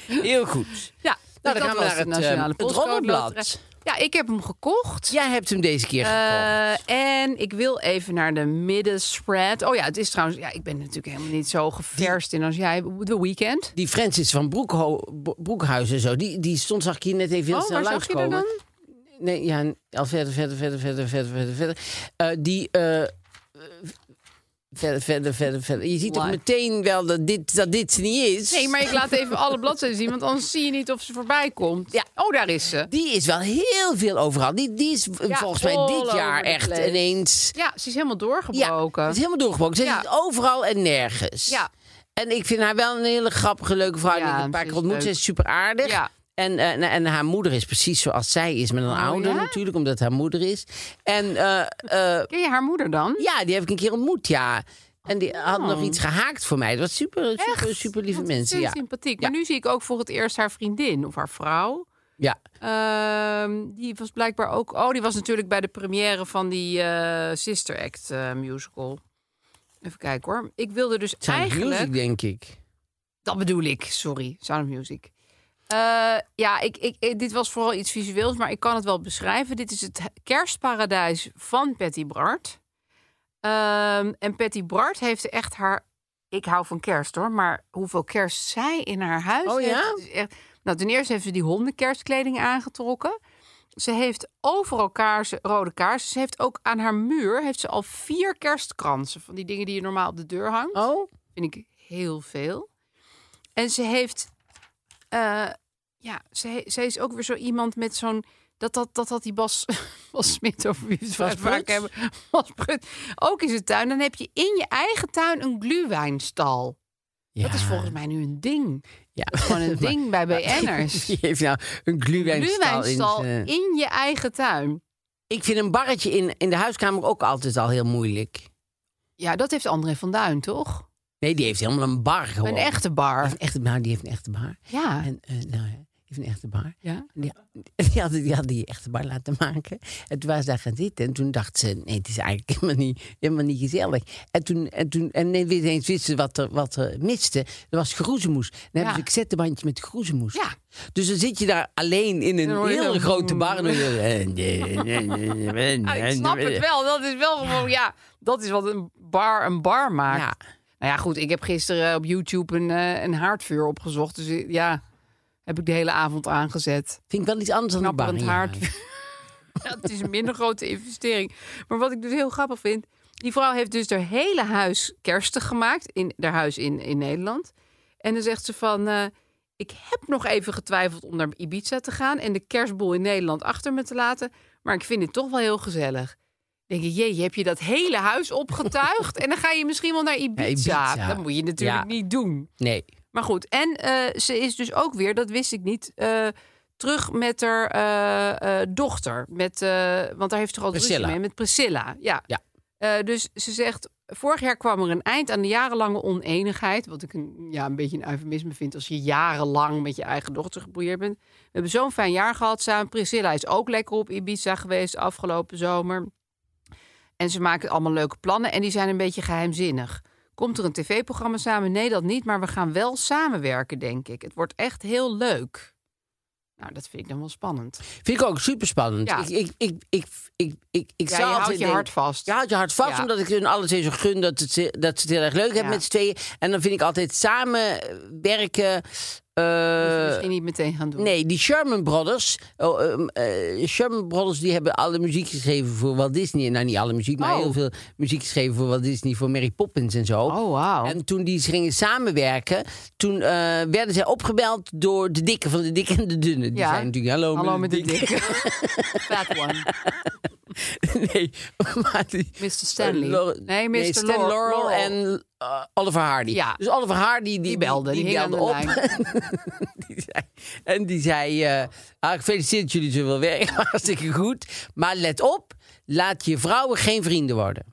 S1: Heel goed.
S2: Ja,
S1: Nou, dan
S2: dus
S1: gaan we
S2: dat was
S1: naar het,
S2: Nationale
S1: ehm, het
S2: Postcode
S1: roddelblad.
S2: Loterij. Ja, ik heb hem gekocht.
S1: Jij hebt hem deze keer
S2: Eh,
S1: gekocht.
S2: en ik wil even naar de middenspread. Oh ja, het is trouwens. Ja, ik ben natuurlijk helemaal niet zo geverst in als jij. The Weekend.
S1: Die Francis van Broekho Bo- Broekhuis en zo, die, die stond, zag ik hier net even heel
S2: Oh,
S1: snel
S2: waar zag je er
S1: langskomen.
S2: dan?
S1: Nee, ja, en al verder, verder, verder, verder, verder, verder, verder. Eh, die, eh, eh, verder, verder, verder, verder. Je ziet toch
S2: Why?
S1: meteen wel dat dit, dat dit ze niet is?
S2: Nee, maar ik laat even alle bladzijden zien, want anders zie je niet of ze voorbij komt.
S1: Ja.
S2: Oh, daar is ze.
S1: Die is wel heel veel overal. Die, die is eh,
S2: Ja,
S1: volgens mij
S2: all
S1: dit
S2: over
S1: jaar
S2: the
S1: echt
S2: place.
S1: ineens...
S2: Ja, ze is helemaal
S1: Ja,
S2: doorgebroken.
S1: het is helemaal doorgebroken. Ze
S2: Ja.
S1: zit overal en nergens.
S2: Ja.
S1: En ik vind haar wel een hele grappige, leuke vrouw. En ik
S2: Ja,
S1: heb een paar
S2: ze
S1: keer
S2: is
S1: ontmoet.
S2: leuk.
S1: Ze is super aardig.
S2: Ja. Oh,
S1: En, eh, en, en haar moeder is precies zoals zij is. Maar dan ouder
S2: ja?
S1: natuurlijk, omdat haar moeder is. En eh, eh,
S2: Ken je haar moeder dan?
S1: ja, die heb ik een keer ontmoet, ja. En die had nog iets gehaakt voor mij. Dat was super, super,
S2: Oh. Echt?
S1: super lieve
S2: Wat
S1: mensen.
S2: zeer
S1: Ja.
S2: sympathiek. Maar
S1: Ja.
S2: nu zie ik ook voor het eerst haar vriendin of haar vrouw.
S1: ja.
S2: Ehm, die was blijkbaar ook. Oh, die was natuurlijk bij de première van die eh, Sister Act eh, musical. Even kijken hoor. Ik wilde dus
S1: Het zijn
S2: eigenlijk.
S1: music, denk ik.
S2: Dat bedoel ik, sorry. Sound of Music. Eh, ja, ik, ik, ik- dit was vooral iets visueels, maar ik kan het wel beschrijven. Dit is het kerstparadijs van Patty Bart. Ehm, en Patty Bart heeft echt haar... Ik hou van kerst hoor, maar hoeveel kerst zij in haar huis
S1: Oh,
S2: heeft...
S1: ja?
S2: het is echt- Nou, ten eerste heeft ze die hondenkerstkleding aangetrokken. Ze heeft overal kaarsen, rode kaarsen. Ze heeft ook aan haar muur heeft ze al vier kerstkransen. Van die dingen die je normaal op de deur hangt
S1: Oh?
S2: vind ik heel veel. En ze heeft, eh, ja, ze, he- ze is ook weer zo iemand met zo'n dat dat dat dat die Bas [laughs] Bas Smit over wie we het
S1: Bas
S2: vaak
S1: Prut?
S2: hebben. Bas Prut. Ook in zijn tuin. Dan heb je in je eigen tuin een gluwijnstal. Dat is
S1: Ja.
S2: volgens mij nu een ding.
S1: Ja.
S2: Dat is
S1: [laughs]
S2: gewoon een
S1: Maar-
S2: ding bij
S1: [laughs]
S2: BN'ers.
S1: Die heeft nou een gluwijnstal in
S2: Gluwijnstal
S1: zijn-
S2: in je eigen tuin.
S1: Ik vind een barretje in, in de huiskamer ook altijd al heel moeilijk.
S2: Ja, dat heeft André van Duin toch?
S1: Nee, die heeft helemaal een bar gewoon.
S2: Een echte bar.
S1: Een echte bar, die heeft een echte bar.
S2: Ja.
S1: En, eh, nou ja, die heeft een echte bar.
S2: Ja.
S1: En Die, [laughs] die, had, die had die echte bar laten maken. En toen was ze daar gaan zitten. En toen dacht ze, nee, het is eigenlijk helemaal niet, helemaal niet gezellig. En toen, en toen en ineens wist ze wat er, wat er miste. Er was groezemoes. Dan hebben ze een cassettebandje met groezemoes.
S2: Ja.
S1: Dus dan zit je daar alleen in een
S2: hoor je
S1: hele
S2: zo-
S1: grote bar. En dan hoor eh,
S2: [laughs] Ja,
S1: je-
S2: ik snap het wel. Dat is wel gewoon, ja, dat is wat een bar een bar maakt.
S1: Ja.
S2: Nou ja, goed, ik heb gisteren op YouTube een, eh, een haardvuur opgezocht. Dus eh, ja, Heb ik de hele avond aangezet.
S1: Vind ik wel iets anders dan een
S2: Knapperend
S1: bar.
S2: haar. [laughs] Dat is een minder grote investering. Maar wat ik dus heel grappig vind. Die vrouw heeft dus haar hele huis kerstig gemaakt. In haar huis in, in Nederland. En dan zegt ze van. eh, ik heb nog even getwijfeld om naar Ibiza te gaan. En de kerstboel in Nederland achter me te laten. Maar ik vind het toch wel heel gezellig. Denk je, jee, heb je dat hele huis
S1: [laughs]
S2: opgetuigd? en dan ga je misschien wel naar Ibiza.
S1: Ibiza.
S2: Dat moet je natuurlijk
S1: Ja.
S2: niet doen.
S1: Nee.
S2: Maar goed, en eh, ze is dus ook weer, dat wist ik niet, eh, terug met haar eh, eh, dochter. Met, eh, want daar heeft ze al ruzie
S1: Priscilla.
S2: mee, met Priscilla. Ja.
S1: Ja.
S2: Eh, dus ze zegt, vorig jaar kwam er een eind aan de jarenlange oneenigheid. Wat ik een, ja, een beetje een eufemisme vind als je jarenlang met je eigen dochter geboeid bent. We hebben zo'n fijn jaar gehad samen. Priscilla is ook lekker op Ibiza geweest afgelopen zomer. En ze maken allemaal leuke plannen en die zijn een beetje geheimzinnig. Komt er een tv-programma samen? Nee, dat niet. Maar we gaan wel samenwerken, denk ik. Het wordt echt heel leuk. Nou, dat vind ik dan wel spannend.
S1: Vind ik ook super spannend.
S2: Ja.
S1: Ik, ik, ik, ik, ik, ik, ik
S2: Ja,
S1: zou
S2: je houdt
S1: altijd
S2: je
S1: denken-
S2: hard vast.
S1: Je houdt je hart vast,
S2: Ja.
S1: omdat ik hun alle twee zo gun dat, het, ze- dat ze het heel erg leuk hebben
S2: Ja.
S1: met z'n tweeën. En dan vind ik altijd samenwerken...
S2: Dat moet je
S1: eh
S2: misschien niet meteen gaan doen.
S1: Nee, die Sherman Brothers. Oh, ehm, eh, Sherman Brothers die hebben alle muziek geschreven voor Walt Disney. Nou, niet alle muziek, maar
S2: Oh.
S1: heel veel muziek geschreven voor Walt Disney, voor Mary Poppins en zo.
S2: Oh, wauw.
S1: En toen die gingen samenwerken, toen eh, werden zij opgebeld door de dikke van de dikke en de dunne. Die
S2: Ja.
S1: zijn natuurlijk, hallo,
S2: Hallo met de
S1: dikke."
S2: dikke. Fat one.
S1: [laughs] nee, [laughs] maar die,
S2: Mr. Stanley.
S1: Eh, Laure-
S2: Nee, Mr.
S1: Stan
S2: Laure-
S1: Laurel
S2: Laurel.
S1: en eh, Oliver Hardy.
S2: Ja.
S1: Dus Oliver Hardy die,
S2: Die belde, die hing
S1: belde op.
S2: aan de
S1: die zei, [laughs] en die zei, eh ah, gefeliciteerd dat jullie zoveel werken, [laughs] hartstikke goed. Maar let op, laat je vrouwen geen vrienden worden.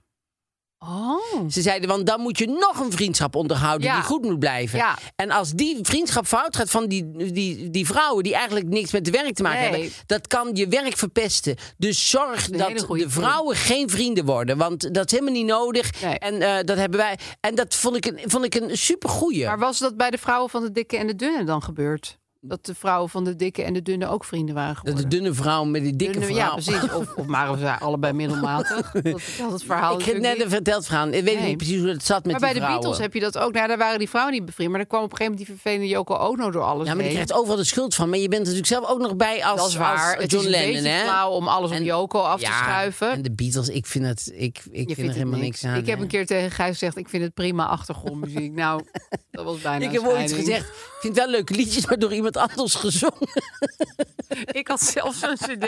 S2: Oh.
S1: Ze zeiden, want dan moet je nog een vriendschap onderhouden
S2: Ja.
S1: die goed moet blijven.
S2: Ja.
S1: En als die vriendschap fout gaat van die, die, die vrouwen die eigenlijk niks met de werk te maken
S2: Nee.
S1: hebben, dat kan je werk verpesten. Dus zorg
S2: een hele
S1: dat
S2: goeie
S1: de vrouwen geen vrienden worden, want dat is helemaal niet nodig.
S2: Nee.
S1: En eh, dat hebben wij. En dat vond ik een, vond ik een supergoeie.
S2: Maar was dat bij de vrouwen van de dikke en de dunne dan gebeurd? Dat de vrouwen van de dikke en de dunne ook vrienden waren
S1: dat
S2: geworden?
S1: de dunne vrouw met die dikke
S2: Dunne-
S1: vrouw.
S2: Ja, precies. Of, of maar
S1: [laughs]
S2: we zijn allebei middelmatig. Dat, dat het verhaal
S1: Ik heb
S2: natuurlijk
S1: net
S2: niet.
S1: een verteld verhaal. Ik weet
S2: Nee.
S1: niet precies hoe het zat met
S2: Maar bij
S1: die
S2: de
S1: vrouwen.
S2: Beatles heb je dat ook. Nou, daar waren die vrouwen niet bevriend. Maar dan kwam op een gegeven moment die vervelende Yoko Ono door
S1: Ja,
S2: alles
S1: maar die
S2: heen.
S1: krijgt overal de schuld van. Maar je bent er natuurlijk zelf ook nog bij als,
S2: dat is waar.
S1: als
S2: het
S1: John
S2: is een
S1: Lennon.
S2: beetje
S1: hè?
S2: flauw om alles op
S1: En-
S2: Yoko af te
S1: Ja,
S2: schuiven.
S1: En de Beatles, ik vind het, ik, ik vind
S2: vindt
S1: er
S2: het
S1: helemaal niks, aan.
S2: Ik heb
S1: hè.
S2: een keer tegen Gijs gezegd, ik vind het prima achtergrondmuziek.
S1: [laughs]
S2: nou, dat was bijna
S1: Ik heb
S2: een
S1: ooit
S2: scheiding.
S1: gezegd, ik vind wel leuke liedjes, maar door iemand anders gezongen.
S2: [laughs]
S1: [laughs]
S2: Ik had zelf zo'n cd.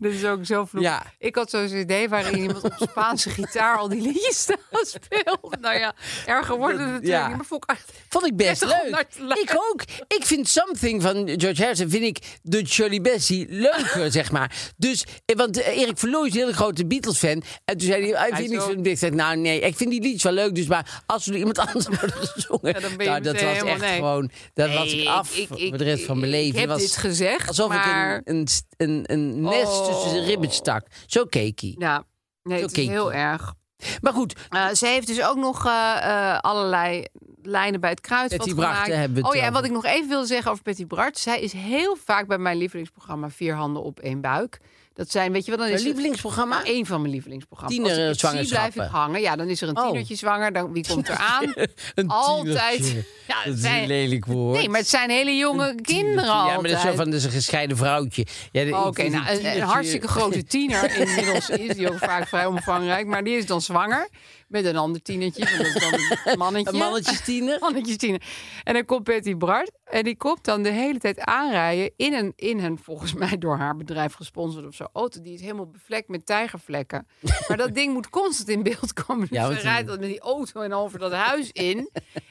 S2: Dit is ook zo vloek.
S1: Ja.
S2: Ik had zo'n cd waarin iemand op Spaanse gitaar al die liedjes [laughs] speelde. Nou ja, erger wordt het natuurlijk
S1: ja.
S2: niet. Maar vond ik echt-
S1: Vond ik best
S2: Prettig om
S1: leuk.
S2: naar te luisteren.
S1: Ik ook. Ik vind Something van George Harrison, vind ik de Jolly Bessie
S2: [laughs]
S1: leuker, zeg maar. Dus, eh, want eh, Erik Verlooy is een hele grote Beatles-fan. En toen zei hij, ah, ik
S2: Hij
S1: vind
S2: is
S1: niks
S2: ook-
S1: van de Beatles. Ik zei, nou nee, ik vind die liedjes wel leuk, dus maar als we door iemand [laughs] anders worden gezongen.
S2: Ja, dan ben je
S1: nou, dat was
S2: meteen
S1: echt
S2: helemaal nee.
S1: gewoon, dat was
S2: Nee,
S1: ik af voor de rest van mijn leven.
S2: Ik heb
S1: was
S2: dit gezegd,
S1: Alsof
S2: maar...
S1: ik een, een, st- een, een nest
S2: Oh.
S1: tussen zijn ribben stak. Zo keek hij.
S2: Ja, nee,
S1: Zo
S2: het is
S1: kinky.
S2: heel erg.
S1: Maar goed,
S2: Eh, ze heeft dus ook nog eh, eh, allerlei lijnen bij het kruidvat
S1: Patty
S2: gemaakt.
S1: Bracht, daar hebben we het
S2: oh ja, en
S1: over.
S2: wat ik nog even wilde zeggen over Betty Bart. Zij is heel vaak bij mijn lievelingsprogramma Vier Handen op één Buik. Dat zijn, weet je wat, dan is
S1: een
S2: het-
S1: lievelingsprogramma.
S2: Nou, één van mijn lievelingsprogramma's.
S1: Tiener, eh,
S2: Als ik het zie, blijf
S1: zwangerschappen.
S2: ik hangen. Ja, dan is er een
S1: Oh.
S2: tienertje zwanger. Dan, wie komt er
S1: [laughs]
S2: aan?
S1: Een
S2: Altijd.
S1: tienertje.
S2: Ja, het
S1: dat is
S2: zijn-
S1: een lelijk woord.
S2: Nee, maar het zijn hele jonge kinderen al.
S1: Ja, maar dat is zo van, dat is een gescheiden vrouwtje. Ja, de-
S2: Oké,
S1: ik-
S2: nou, een- een,
S1: tienertje-
S2: hartstikke grote [laughs] tiener. Inmiddels is die ook vaak vrij omvangrijk. Maar die is dan zwanger met een ander tienertje. want Dat is dan [laughs] een mannetje.
S1: Een
S2: [laughs]
S1: mannetjestiener.
S2: Mannetjes tiener. En dan komt Betty Bart. En die komt dan de hele tijd aanrijden in een, in een volgens mij door haar bedrijf gesponsord of zo, auto. Die is helemaal bevlekt met tijgervlekken. Maar dat ding moet constant in beeld komen. Dus
S1: Ja,
S2: ze
S1: want die-
S2: rijdt dan met die auto en over dat huis in.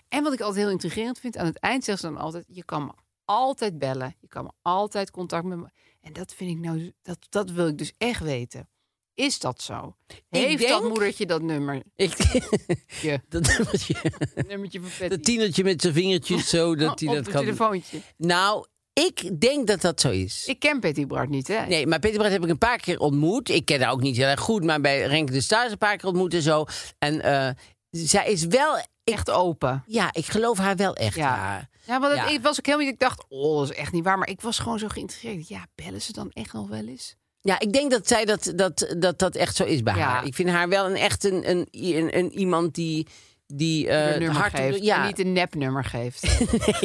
S2: En wat ik altijd heel intrigerend vind, aan het eind zegt ze dan altijd, je kan me altijd bellen. Je kan me altijd contact met me. En dat vind ik nou, dat, dat wil ik dus echt weten. Is dat zo? Heeft dat
S1: denk-
S2: moedertje dat nummer?
S1: Ik,
S2: Ja.
S1: [laughs] dat, nummertje-
S2: Nummertje van Betty.
S1: dat tienertje met zijn vingertjes zo,
S2: [laughs]
S1: dat hij
S2: Op
S1: dat
S2: een
S1: kan...
S2: telefoontje.
S1: Nou, ik denk dat dat zo is.
S2: Ik ken Patty Bart niet, hè?
S1: Nee, maar Peter Brett heb ik een paar keer ontmoet. Ik ken haar ook niet heel erg goed, maar bij Renke de Staars een paar keer ontmoet en zo. En eh, zij is wel... Ik,
S2: Echt open.
S1: ja, ik geloof haar wel echt.
S2: Ja.
S1: Ja.
S2: Ja, want dat,
S1: Ja.
S2: ik was ook helemaal niet... Ik dacht, oh, dat is echt niet waar. Maar ik was gewoon zo geïnteresseerd. Ja, bellen ze dan echt nog wel eens?
S1: Ja, ik denk dat zij dat, dat, dat, dat echt zo is bij
S2: Ja.
S1: haar. Ik vind haar wel een echt een, een, een, een iemand die, die
S2: Die
S1: eh
S2: een nummer
S1: hard
S2: geeft.
S1: Ja,
S2: En niet een nepnummer [laughs] geeft.
S1: [laughs]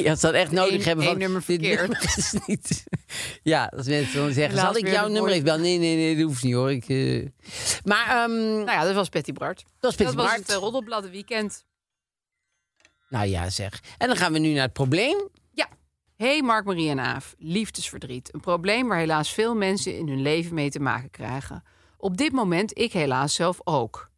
S1: ja, dat zou echt nodig
S2: Eén-
S1: hebben.
S2: één
S1: van,
S2: nummer
S1: dit
S2: verkeerd.
S1: nummer is niet. [laughs] Ja, als mensen dan zeggen,
S2: Laat
S1: zal ik
S2: weer
S1: jouw
S2: de
S1: nummer
S2: woord-
S1: even bellen? Nee, nee, nee, dat hoeft niet hoor. Ik, eh, Maar, ehm,
S2: nou ja, dat was Betty Bart.
S1: dat is Pieter
S2: Dat was
S1: Bart.
S2: het eh, roddelblad weekend.
S1: Nou ja, zeg. En dan gaan we nu naar het probleem.
S2: Ja. Hey Mark, Marie en Aaf. Liefdesverdriet. Een probleem waar helaas veel mensen in hun leven mee te maken krijgen. Op dit moment ik helaas zelf ook.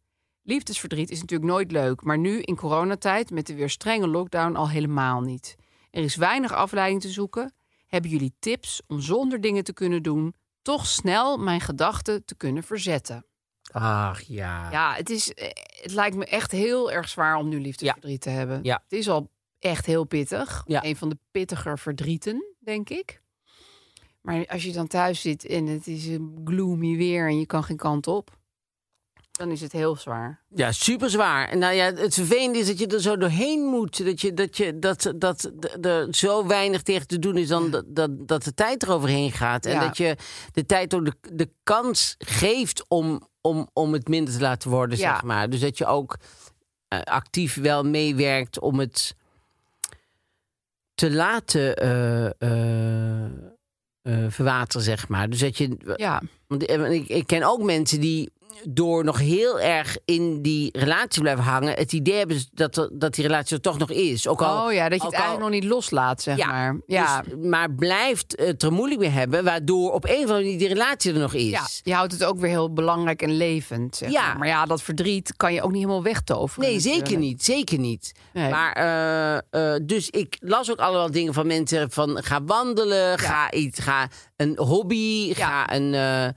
S2: Liefdesverdriet is natuurlijk nooit leuk, maar nu in coronatijd met de weer strenge lockdown al helemaal niet. Er is weinig afleiding te zoeken. Hebben jullie tips om zonder dingen te kunnen doen, toch snel mijn gedachten te kunnen verzetten?
S1: Ach ja.
S2: Ja, het, is, eh, het lijkt me echt heel erg zwaar om nu liefdesverdriet te hebben.
S1: Ja.
S2: Het is al echt heel pittig.
S1: Ja.
S2: Een van de pittiger verdrieten, denk ik. Maar als je dan thuis zit en het is een gloomy weer en je kan geen kant op, dan is het heel zwaar.
S1: Ja, super zwaar. En nou ja, het vervelende is dat je er zo doorheen moet. Dat, je, dat, je, dat, dat d- er zo weinig tegen te doen is dan dat, dat, dat de tijd eroverheen gaat. En
S2: Ja.
S1: dat je de tijd ook de, de kans geeft om, om, om het minder te laten worden,
S2: Ja.
S1: zeg maar. Dus dat je ook eh, actief wel meewerkt om het te laten eh, eh, eh, verwateren, zeg maar. Dus dat je
S2: Ja,
S1: want eh, want ik, ik ken ook mensen die door nog heel erg in die relatie te blijven hangen, het idee hebben ze dat, er- dat die relatie er toch nog is. Ook al,
S2: oh ja, dat je
S1: ook
S2: het
S1: al-
S2: eigenlijk nog niet loslaat, zeg
S1: Ja,
S2: maar. Ja.
S1: dus- maar blijft het er moeilijk mee hebben, waardoor op een of andere manier die relatie er nog is.
S2: ja, je houdt het ook weer heel belangrijk en levend, zeg
S1: dus- Ja.
S2: maar. Maar ja, dat verdriet kan je ook niet helemaal wegtoveren.
S1: Nee, zeker
S2: natuurlijk.
S1: niet. Zeker niet.
S2: Nee.
S1: Maar, eh, eh, dus ik las ook allemaal dingen van mensen van ga wandelen, ga iets, ga een hobby, ga een... eh,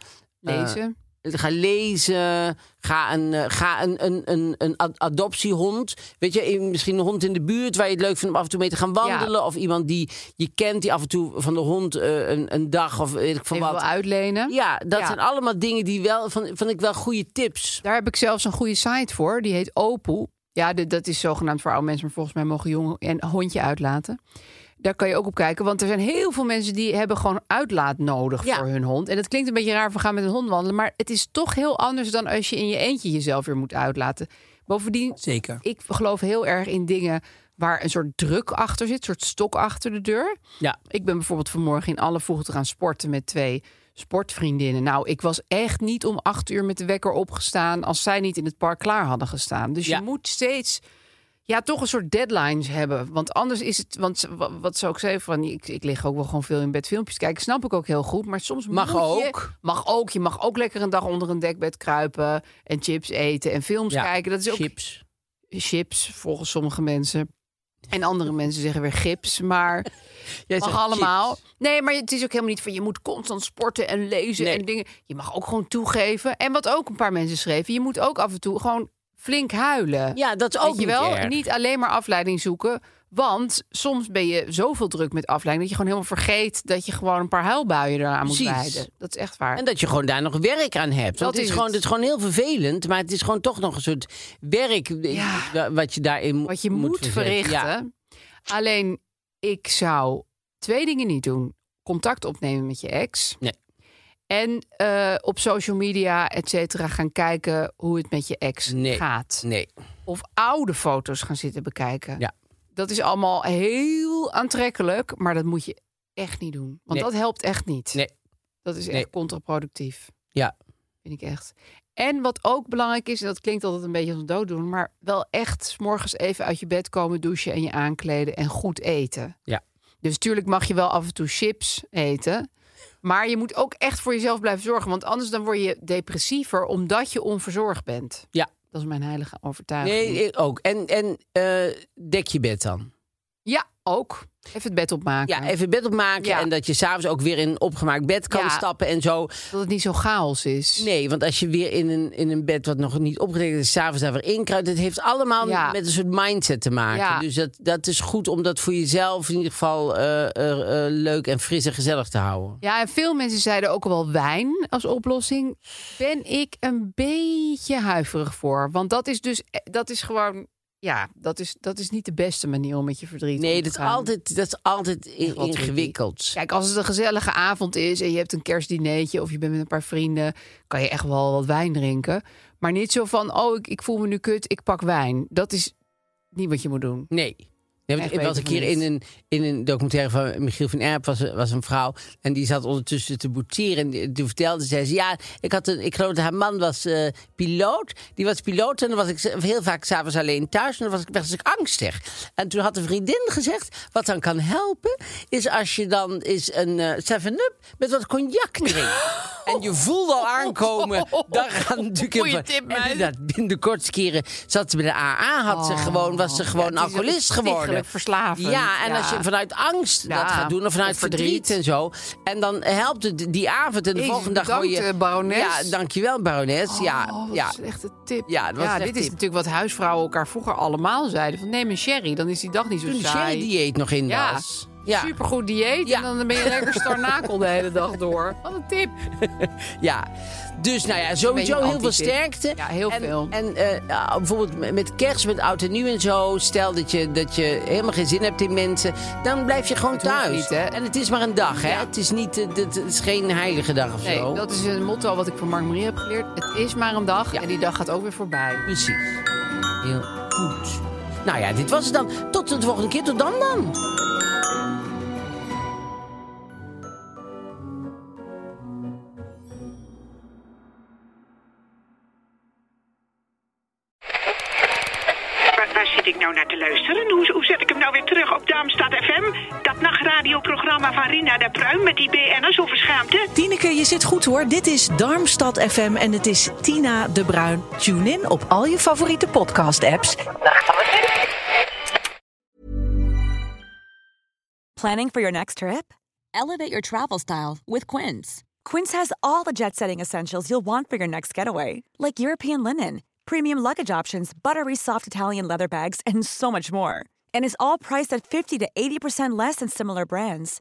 S2: Lezen.
S1: Ga lezen. Ga een, eh, ga een, een, een, een ad- adoptiehond. Weet je, in- misschien een hond in de buurt waar je het leuk vindt om af en toe mee te gaan wandelen. Of iemand die je kent die af en toe van de hond eh, een, een dag of weet ik van
S2: Even
S1: wat.
S2: wel uitlenen.
S1: Ja, dat
S2: Ja.
S1: zijn allemaal dingen die wel, van, van ik wel goede tips.
S2: Daar heb ik zelfs een goede site voor. Die heet Opel. Ja, dit- dat is zogenaamd voor oude mensen, maar volgens mij mogen jongen en hondje uitlaten. Daar kan je ook op kijken, want er zijn heel veel mensen die hebben gewoon uitlaat nodig
S1: Ja.
S2: voor hun hond. En dat klinkt een beetje raar, we gaan met een hond wandelen, maar het is toch heel anders dan als je in je eentje jezelf weer moet uitlaten. Bovendien,
S1: Zeker.
S2: ik geloof heel erg in dingen waar een soort druk achter zit, een soort stok achter de deur.
S1: Ja.
S2: Ik ben bijvoorbeeld vanmorgen in alle vroegte gaan sporten met twee sportvriendinnen. Nou, ik was echt niet om acht uur met de wekker opgestaan als zij niet in het park klaar hadden gestaan. Dus
S1: Ja.
S2: je moet steeds ja, toch een soort deadlines hebben. Want anders is het, want ze- wa- wat zou ik zeggen van, ik, ik lig ook wel gewoon veel in bed filmpjes kijken. Snap ik ook heel goed, maar soms
S1: Mag
S2: moet je-
S1: ook.
S2: mag ook. Je mag ook lekker een dag onder een dekbed kruipen en chips eten en films
S1: Ja,
S2: kijken. Dat is ook
S1: Chips.
S2: chips volgens sommige mensen. En andere mensen zeggen weer gips, maar
S1: Jij
S2: mag
S1: zegt
S2: allemaal.
S1: chips.
S2: Nee, maar het is ook helemaal niet van je moet constant sporten en lezen
S1: Nee.
S2: en dingen. Je mag ook gewoon toegeven. En wat ook een paar mensen schreven, je moet ook af en toe gewoon flink huilen.
S1: Ja, dat is
S2: Weet
S1: ook
S2: je wel,
S1: niet erg.
S2: niet alleen maar afleiding zoeken. Want soms ben je zoveel druk met afleiding dat je gewoon helemaal vergeet dat je gewoon een paar huilbuien eraan moet
S1: Precies.
S2: wijden. Dat is echt waar.
S1: En dat je gewoon daar nog werk aan hebt. Dat
S2: Dat
S1: het is,
S2: is
S1: gewoon,
S2: het.
S1: het is gewoon heel vervelend, maar het is gewoon toch nog een soort werk
S2: Ja.
S1: eh, wat je daarin mo-
S2: wat je moet,
S1: verzetten.
S2: verrichten.
S1: Ja.
S2: Alleen ik zou twee dingen niet doen: contact opnemen met je ex.
S1: Nee.
S2: En eh, op social media, et cetera, gaan kijken hoe het met je ex
S1: Nee.
S2: gaat.
S1: Nee.
S2: Of oude foto's gaan zitten bekijken.
S1: Ja.
S2: Dat is allemaal heel aantrekkelijk, maar dat moet je echt niet doen. Want
S1: Nee.
S2: dat helpt echt niet.
S1: Nee.
S2: Dat is echt
S1: Nee.
S2: contraproductief.
S1: Ja.
S2: Vind ik echt. En wat ook belangrijk is, en dat klinkt altijd een beetje als een dooddoen, maar wel echt 's morgens even uit je bed komen, douchen en je aankleden en goed eten.
S1: Ja.
S2: Dus natuurlijk mag je wel af en toe chips eten. Maar je moet ook echt voor jezelf blijven zorgen. Want anders dan word je depressiever omdat je onverzorgd bent.
S1: Ja.
S2: Dat is mijn heilige overtuiging.
S1: Nee, ik ook. En, en eh, dek je bed dan.
S2: Ja, ook. Even het bed opmaken.
S1: Ja, even bed opmaken.
S2: Ja.
S1: En dat je s'avonds ook weer in een opgemaakt bed kan
S2: Ja.
S1: stappen en zo.
S2: Dat het niet zo chaos is.
S1: Nee, want als je weer in een, in een bed wat nog niet opgedekt is, s'avonds daar weer inkruidt. Het heeft allemaal
S2: Ja.
S1: met een soort mindset te maken.
S2: Ja.
S1: Dus dat, dat is goed om dat voor jezelf in ieder geval eh, eh, eh, leuk en fris en gezellig te houden.
S2: Ja, en veel mensen zeiden ook al wel wijn als oplossing. Ben ik een beetje huiverig voor. Want dat is dus, eh, dat is gewoon, ja, dat is, dat is niet de beste manier om met je verdriet om
S1: Nee,
S2: te
S1: dat is
S2: gaan.
S1: altijd, dat is altijd in-
S2: Echt wel tricky.
S1: ingewikkeld.
S2: Kijk, als het een gezellige avond is en je hebt een kerstdineetje of je bent met een paar vrienden, kan je echt wel wat wijn drinken. Maar niet zo van, oh, ik, ik voel me nu kut, ik pak wijn. Dat is, niet wat je moet doen.
S1: Nee. Nee, want
S2: Echt
S1: ik was
S2: beter
S1: een keer
S2: van niet.
S1: in een, in een documentaire van Michiel van Erp, was, was een vrouw. En die zat ondertussen te boetieren. En die- toen vertelde zij, ze, ja, ik, had een, ik geloof dat haar man was eh, piloot. Die was piloot en dan was ik z- heel vaak s'avonds alleen thuis. En dan was ik best angstig. En toen had een vriendin gezegd, wat dan kan helpen... is als je dan is een eh, 7-up met wat cognac
S2: [laughs]
S1: drinkt. En je voelt al aankomen, daar gaat natuurlijk...
S2: Goeie
S1: heel veel-
S2: tip,
S1: en
S2: meid.
S1: inderdaad, binnen de kortste keren zat ze bij de AA, had ze gewoon, was ze gewoon
S2: Oh, Ja, het is
S1: alcoholist geworden.
S2: stichtelijk verslavend.
S1: Ja, en
S2: Ja.
S1: als je vanuit angst dat
S2: Ja,
S1: gaat doen, of vanuit
S2: of
S1: verdriet.
S2: verdriet.
S1: en zo. En dan helpt het die avond en de
S2: Jezus,
S1: volgende dag
S2: bedankt,
S1: je.
S2: eh, barones.
S1: Ja, dankjewel, barones. ja,
S2: Oh, wat
S1: ja.
S2: een slechte tip.
S1: Ja, dat was een
S2: dit
S1: slechte
S2: is
S1: tip.
S2: natuurlijk wat huisvrouwen elkaar vroeger allemaal zeiden. Van neem een sherry, dan is die dag niet zo
S1: Toen de
S2: saai.
S1: sherry-dieet nog in
S2: Ja.
S1: was. Ja,
S2: Supergoed dieet
S1: Ja.
S2: en dan ben je
S1: [laughs]
S2: lekker starnakel de hele dag door. Wat een tip.
S1: ja. Dus nou ja, sowieso
S2: Beetje
S1: heel veel
S2: anti-tip.
S1: sterkte.
S2: Ja, heel
S1: en,
S2: veel.
S1: En eh, ja, bijvoorbeeld met- met kerst, met oud en nieuw en zo. Stel dat je, dat je helemaal geen zin hebt in mensen. Dan blijf je gewoon
S2: Het hoeft
S1: thuis.
S2: niet, hè?
S1: En het is maar een dag, hè?
S2: Ja.
S1: Het, is niet, eh, het, het is geen heilige dag of
S2: Nee,
S1: zo.
S2: dat is een motto wat ik van Mark Marie heb geleerd. Het is maar een dag
S1: Ja.
S2: en die dag gaat ook weer voorbij.
S1: Precies. Heel goed. Nou ja, dit was het dan. Tot de volgende keer. Tot dan dan.
S3: Waar, waar zit ik nou naar te luisteren? Hoe, hoe zet ik hem nou weer terug op Darmstad FM? Dat nachtradioprogramma van Rina de Pruim met die BN'ers over schaamte?
S4: Tineke, je zit goed hoor. Dit is Darmstad FM en het is Tina de Bruin. Tune in op al je favoriete podcast-apps.
S5: Planning for your next trip?
S6: Elevate your travel style with Quince.
S5: Quince has all the jet setting essentials you'll want for your next getaway, like European linen, premium luggage options, buttery soft Italian leather bags, and so much more. And is all priced at 50 to 80% less than similar brands.